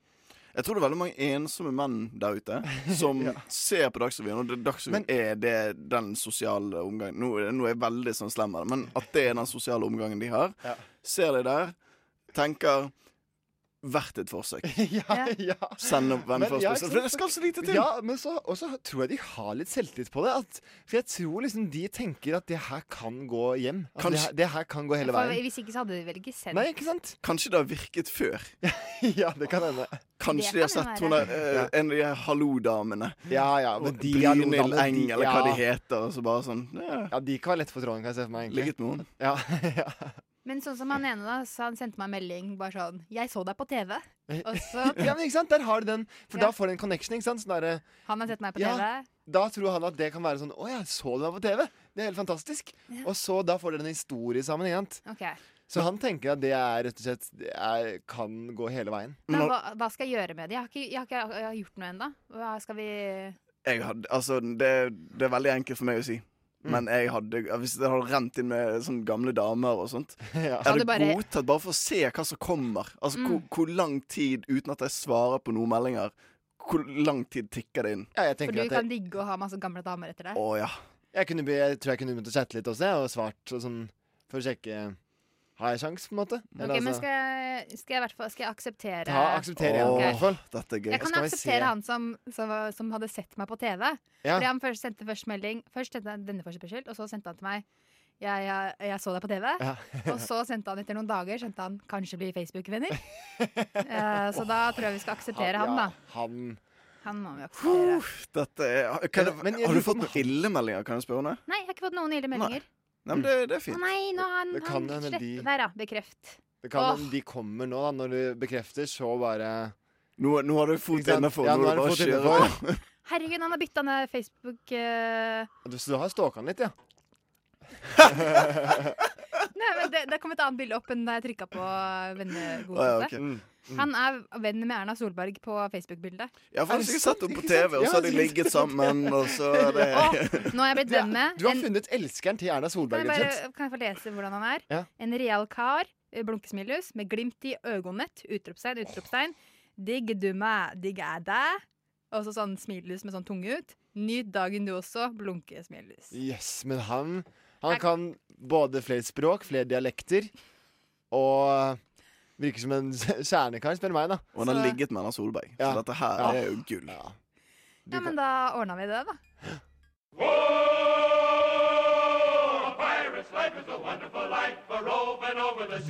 S21: Jeg tror det er veldig mange ensomme menn der ute som ser på Dagsrevyen, og det- Dagsrevyen er det den sosiale omgangen Nå, er- nå er jeg veldig sånn slem her, men at det er den sosiale omgangen de har. Ser de der, tenker Verdt et forsøk.
S22: ja, ja.
S21: Send opp
S22: Men ja, ikke
S21: venneforespørsel. For det
S22: sant?
S21: skal så lite til.
S22: Ja, men så, og så tror jeg de har litt selvtillit på det. At, for jeg tror liksom de tenker at det her kan gå hjem. At det,
S21: Kanskje-
S22: her, det her kan gå hele
S20: For
S22: veien.
S20: Hvis ikke så hadde de vel ikke sendt
S22: Nei, ikke sant?
S21: Kanskje det har virket før.
S22: ja, det kan hende.
S21: Kanskje
S20: Det
S21: de har
S20: kan
S21: sett
S20: jo
S21: hun
S20: være.
S21: der, eh, en av de her hallo-damene.
S22: Ja, ja, men
S21: Og
S22: de
S21: Brynhild
S22: hallo-damene, de-
S21: Eng, eller hva de
S22: ja.
S21: heter. Og så bare sånn ja.
S22: Ja, de kan være lett for tråden, kan jeg se for meg. egentlig.
S21: Ligget med henne.
S22: Ja.
S20: Men sånn som han ene da, så han sendte meg en melding bare sånn 'Jeg så deg på TV'. Og så
S22: ja, men ikke sant? Der har du den. For
S20: Ja.
S22: da får du en connection. ikke sant? Sånn derre
S20: Han har sett meg på
S22: ja,
S20: TV.
S22: Da tror han at det kan være sånn Å ja, så du meg på TV? Det er helt fantastisk.
S20: Ja.
S22: Og så da får dere en historie sammen. ikke sant?
S20: Ok.
S22: Så han tenker at det er rett og slett det er, kan gå hele veien.
S20: Men hva, hva skal jeg gjøre med det? Jeg har ikke, jeg har ikke jeg har gjort noe ennå. Hva skal vi
S21: Jeg hadde, altså, det, det er veldig enkelt for meg å si.
S22: Mm.
S21: Men jeg hadde, hvis det hadde rent inn med sånne gamle damer og sånt Jeg
S20: Hadde
S21: hadde
S20: bare-
S21: godtatt bare for å se hva som kommer. Altså
S20: Mm.
S21: hvor, hvor lang tid uten at jeg svarer på noen meldinger. Hvor lang tid tikker det inn?
S20: For du kan digge å ha masse gamle damer etter deg.
S21: Å ja.
S22: Jeg, kunne, be- jeg tror jeg kunne begynt å chatte litt også, jeg, og svart og sånn, for å sjekke Har jeg sjans, på en måte?
S20: Ok, men skal jeg, skal jeg i hvert fall skal jeg akseptere
S22: altså- ta, akseptere igjen, i
S20: Ok.
S22: hvert fall.
S21: Dette er
S20: Jeg kan akseptere han som, som, var- som hadde sett meg på TV.
S22: Ja.
S20: Fordi han først sendte først melding Først sendte han denne forespørsel, og så sendte han til meg jeg, jeg, jeg så deg på TV.
S22: Ja.
S20: og så sendte han etter noen dager Sendte han 'kanskje bli Facebook-venner'. Eh, så da tror jeg vi skal akseptere han, da.
S22: Han
S20: Han må vi akseptere.
S21: Dette er, kan, jeg- har du fått noen ille meldinger, kan jeg spørre om det?
S20: Nei, jeg har ikke fått noen ille meldinger.
S21: Nei, men det, det er
S20: Å
S21: fint.
S20: Mm. nei, nå har han,
S22: Det
S20: han
S22: kan hende
S20: slett
S22: de-
S20: Der, ja. Bekreft.
S22: Det kan
S20: Åh.
S22: hende de kommer nå, da, når du bekrefter, så bare
S21: Nå, har du fot innenfor,
S22: Ja,
S21: nå
S22: nå
S21: er
S22: er du
S21: det bare
S22: fot
S21: å kjøre.
S22: innenfor.
S20: Herregud, han har bytta ned Facebook eh.
S22: Du- Så du har stalka han litt, ja?
S20: Nei, men det, det kom et annet bilde opp enn da jeg trykka på
S21: Å, ja,
S20: vennegodkjente.
S21: ok. Mm, mm.
S20: Han er venn med Erna Solberg på Facebook-bildet.
S21: Jeg har
S22: Er det
S21: faktisk ikke sett
S22: sant?
S21: henne på
S22: Ikke sant?
S21: TV, og
S22: Ja,
S21: så har de
S22: jeg synes
S21: ligget
S22: det er
S21: sammen, og så er det
S20: Nå har jeg blitt venn med
S22: Du har funnet elskeren til Erna
S20: Kan
S22: Solberg,
S20: jeg,
S22: rett og
S20: bare,
S22: slett.
S20: kan jeg få lese hvordan han er?
S22: Ja.
S20: En real kar, eh, blunkesmilhus, med glimt i øgonett, utropstegn, utropstegn. Digg du meg, digg er deg. Og så sånn smilhus med sånn tunge ut. Nyt dagen du også, blunkesmilhus.
S22: Yes, men han Han kan både flere språk, flere dialekter, og virker som en kjernekar, spør du meg, da.
S21: Og han har ligget med Erna Solberg, så dette her er jo gull.
S20: Ja, men da ordna vi det, da.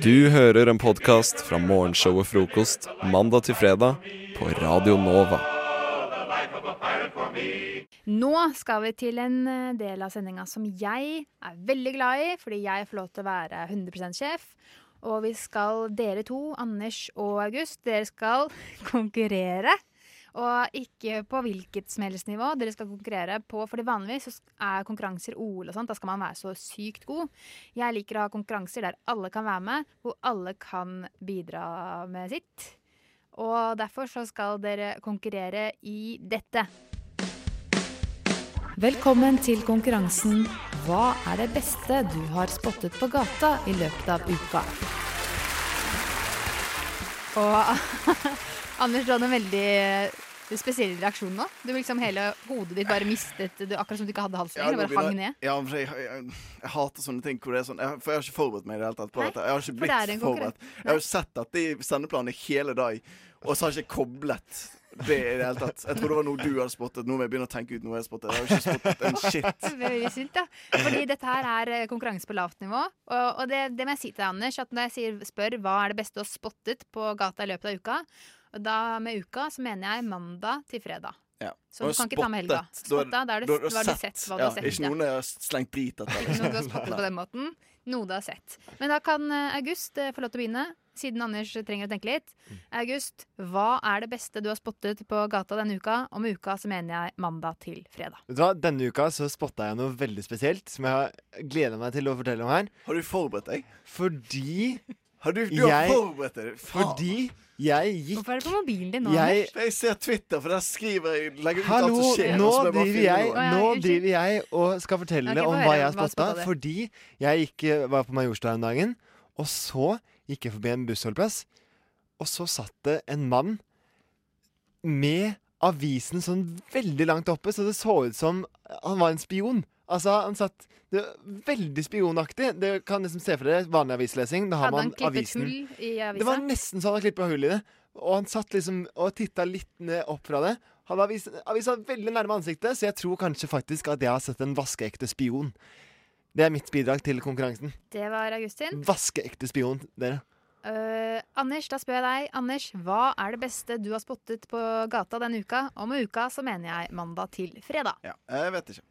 S1: Du hører en podkast fra morgenshowet Frokost mandag til fredag på Radio Nova.
S20: Nå skal vi til en eh, del av sendinga som jeg er veldig glad i, fordi jeg får lov til å være 100 sjef. Og vi skal, dere to, Anders og August, dere skal konkurrere. Og ikke på hvilket som helst nivå. Dere skal konkurrere på Fordi vanligvis så er konkurranser OL og sånt. Da skal man være så sykt god. Jeg liker å ha konkurranser der alle kan være med, hvor alle kan bidra med sitt. Og derfor så skal dere konkurrere i dette.
S2: Velkommen til konkurransen Hva er det beste du har spottet på gata i løpet av uka?
S20: Og Anders, du hadde en veldig eh, spesiell reaksjon nå. Du liksom Hele hodet ditt bare mistet du, Akkurat som du ikke hadde halsen
S21: Ja,
S20: lenger.
S21: nå
S20: det bare hang
S21: begynner-
S20: ned.
S21: Ja, for jeg, jeg, jeg, jeg hater sånne ting hvor det er sånn jeg, For jeg har ikke forberedt meg i det hele tatt på
S20: Nei,
S21: dette. Jeg har ikke
S20: for det er en
S21: blitt
S20: konkurran-
S21: forberedt Jeg har jo sett dette i sendeplanen i hele dag, og så har jeg ikke koblet Det i det hele tatt. Jeg tror det var noe du hadde spottet. Nå må jeg begynne å tenke ut noe jeg har spottet. Jeg har jo ikke spottet en shit.
S20: Bevisvilt, da. Fordi dette her er eh, konkurranse på lavt nivå. Og, og det, det må jeg si til deg, Anders, at når jeg sier, spør hva er det beste å spottet på gata i løpet av uka, og da med uka så mener jeg mandag til fredag.
S21: Ja.
S20: Så du kan ikke ta med helga.
S21: Da-
S20: Spotta, da er det-
S21: da har
S20: da har du sett hva du har sett,
S21: Ikke
S20: ja.
S21: noen jeg har slengt drit etter. liksom.
S20: Noe du har spottet på den måten. Noe du har sett. Men da kan eh, August eh, få lov til å begynne. Siden Anders trenger å tenke litt. August, hva er det beste du har spottet på gata denne uka? Og med uka så mener jeg mandag til fredag.
S22: Vet du hva, Denne uka så spotta jeg noe veldig spesielt som jeg har gleda meg til å fortelle om her.
S21: Har du forberedt deg?
S22: Fordi
S21: Har du, du har forberedt deg. Faen.
S22: Fordi jeg gikk
S20: Hvorfor er det på mobilen din nå?
S22: Jeg-
S20: Anders?
S21: Jeg ser Twitter, for der skriver jeg legger ut alt
S22: Hallo,
S21: som skjer.
S22: nå
S21: og så må jeg bare
S22: driver
S21: finne
S22: jeg,
S21: noe.
S22: nå driver jeg og skal fortelle
S21: Ok, få
S22: om
S21: høre,
S22: hva jeg har
S21: hva
S22: spotta.
S21: spottet du?
S22: Fordi jeg gikk, eh, var på Majorstua en dagen, og så gikk jeg forbi en bussholdeplass. Og så satt det en mann med avisen sånn veldig langt oppe, så det så ut som han var en spion. Altså, han satt det, var Veldig spionaktig. Det kan liksom se for dere vanlig avislesing. Da har
S20: Hadde han
S22: man
S20: klippet
S22: avisen.
S20: hull i avisa?
S22: Det var nesten så han hadde klippa hull i det. Og han satt liksom og titta litt ned opp fra det. Han hadde avisa, avisa veldig nærme ansiktet, så jeg tror kanskje faktisk at jeg har sett en vaskeekte spion. Det er mitt bidrag til konkurransen.
S20: Det var Augustin.
S22: Vaskeekte spion, dere.
S20: Eh, Anders, da spør jeg deg. Anders, hva er det beste du har spottet på gata denne uka? Og med uka så mener jeg mandag til fredag.
S21: Jeg vet ikke.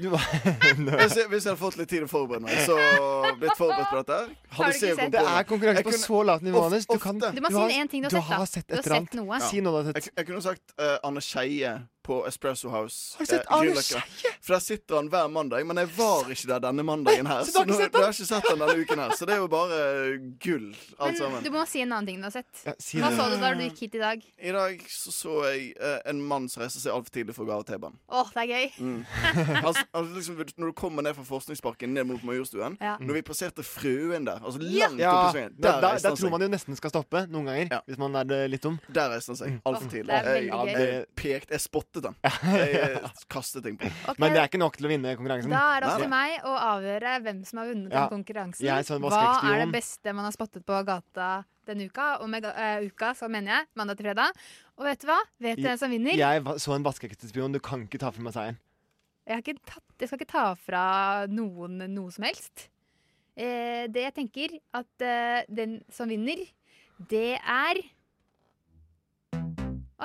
S22: Du var
S21: hvis, jeg, hvis jeg hadde fått litt tid å forberede meg, så blitt forberedt på dette her
S20: Har du ikke sett?
S22: Det er konkurranse på så lavt nivå, Anders. Du kan-
S20: Du må si én ting du har sett, da. Du har sett noe.
S21: Ja.
S20: Si
S22: noe du har
S21: Jeg, jeg kunne sagt eh, Anne Skeie på Espresso House.
S20: Har du sett
S21: eh,
S20: Arne
S21: Grünerløkka. For der sitter han hver mandag, men jeg var ikke der denne mandagen her.
S20: Så du har ikke
S21: nå-
S20: sett
S21: du har ikke sett han denne uken her, så det er jo bare gull,
S20: Men
S21: alt sammen.
S20: du må si en annen ting du har sett.
S21: Ja, si
S20: Hva
S21: det.
S20: så du da du gikk hit i dag?
S21: I dag så, så jeg eh, en mann som reiste seg altfor tidlig for å gå av T-banen.
S20: Åh, det er gøy.
S21: Mm. Altså, altså liksom, når du kommer ned fra Forskningsparken ned mot Majorstuen
S20: Ja.
S21: Når vi passerte Frøen der, altså
S22: Ja,
S21: langt
S22: der,
S21: opp i svingen
S22: der,
S21: reiste han
S22: tror
S21: seg.
S22: man jo nesten skal stoppe noen ganger, hvis man er eh, litt dum.
S21: sånn Der reiste han seg altfor
S22: Åh,
S21: tidlig.
S22: det er
S21: Jeg,
S22: veldig
S21: jeg,
S22: gøy.
S21: pekte, jeg spottet han. Jeg eh, kastet ting på han.
S20: Ok. Men det er
S22: ikke nok til å vinne konkurransen.
S20: Da er det opp til meg å avgjøre hvem som har vunnet
S21: Ja.
S20: den konkurransen.
S21: Jeg som
S20: Hva
S21: vaskeekspion.
S20: er det beste man har spottet på gata denne uka? Og med eh, uka, så mener jeg mandag til fredag. Og vet du hva? Vet du hvem som vinner?
S22: Jeg va- så en vaskeektespion. Du kan ikke ta fra meg seieren.
S20: Jeg, har ikke tatt, jeg skal ikke ta fra noen noe som helst. Eh, det jeg tenker at eh, den som vinner, det er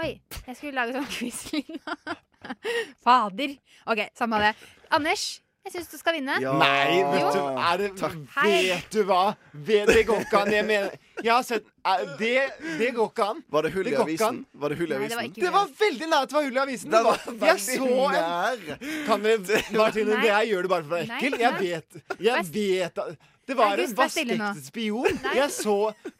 S20: Oi, jeg skulle lage sånn quiz-lyd nå. Fader. OK, samme det. Anders, jeg syns du skal vinne.
S22: Nei, vet du,
S20: Jo.
S22: er det,
S20: Hei.
S22: vet du hva? Vet, det går ikke an. Jeg mener Jeg har sett er- Det, det går ikke an.
S21: Var det hull i
S22: går ikke
S21: avisen?
S22: an.
S21: Var det hull i
S22: Nei, det var
S21: avisen?
S22: Det var veldig nært at det var hull i avisen.
S21: Det
S22: Det
S21: var
S22: var, jeg
S21: veldig
S22: så en
S21: nær.
S22: Kan dere Martine,
S21: Nei.
S22: det her gjør du bare for å være
S21: Nei,
S22: ekkel.
S21: nei.
S22: Jeg vet Jeg vet at det var en
S21: August, vær stille nå.
S22: vaskeektespion jeg så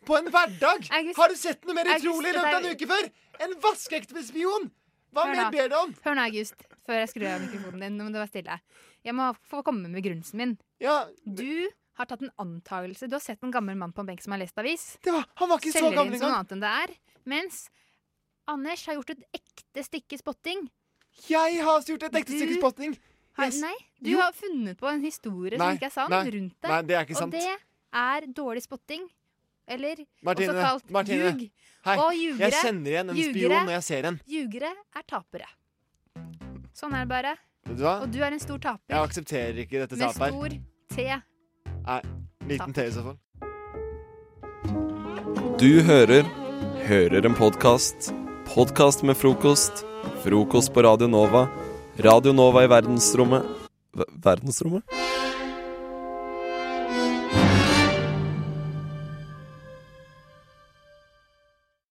S22: på en hverdag. Har du sett noe mer
S20: August,
S22: utrolig i løpet av en
S20: det
S22: uke før? En vaskeektespion! Hva
S20: Hør
S22: mer
S20: nå.
S22: ber du om?
S20: Hør nå, August, før jeg skrur av mikrofonen din. Nå må du være stille. Jeg må få komme med begrunnelsen min. Du har tatt en antakelse. Du har sett en gammel mann på en benk som har lest avis.
S22: han var ikke så
S20: Selger
S22: gammel
S20: inn som
S22: engang.
S20: noe annet enn det er. Mens Anders har gjort et ekte stykke spotting.
S22: Jeg har gjort et ekte stykke spotting.
S20: Har,
S22: Yes.
S20: Nei, du
S22: Jo.
S20: har funnet på en historie
S22: Nei,
S20: som ikke er sann,
S22: nei,
S20: rundt deg.
S22: nei, det er ikke sant.
S20: Og det er dårlig spotting. Eller
S22: Martine,
S20: også kalt
S22: Martine.
S20: ljug.
S22: Hei,
S20: Og ljugere.
S22: jeg kjenner igjen en spion
S20: Ljugere-
S22: når jeg ser en.
S20: Ljugere er tapere. Sånn er det bare.
S22: Vet du hva?
S20: Og du er en stor taper.
S22: Jeg aksepterer ikke dette
S20: med
S22: tapet
S20: stor
S22: her.
S20: T.
S22: Nei, liten T i så fall.
S1: Du hører Hører en podkast. Podkast med frokost. Frokost på Radio Nova. Radio Nova i verdensrommet Ver- Verdensrommet?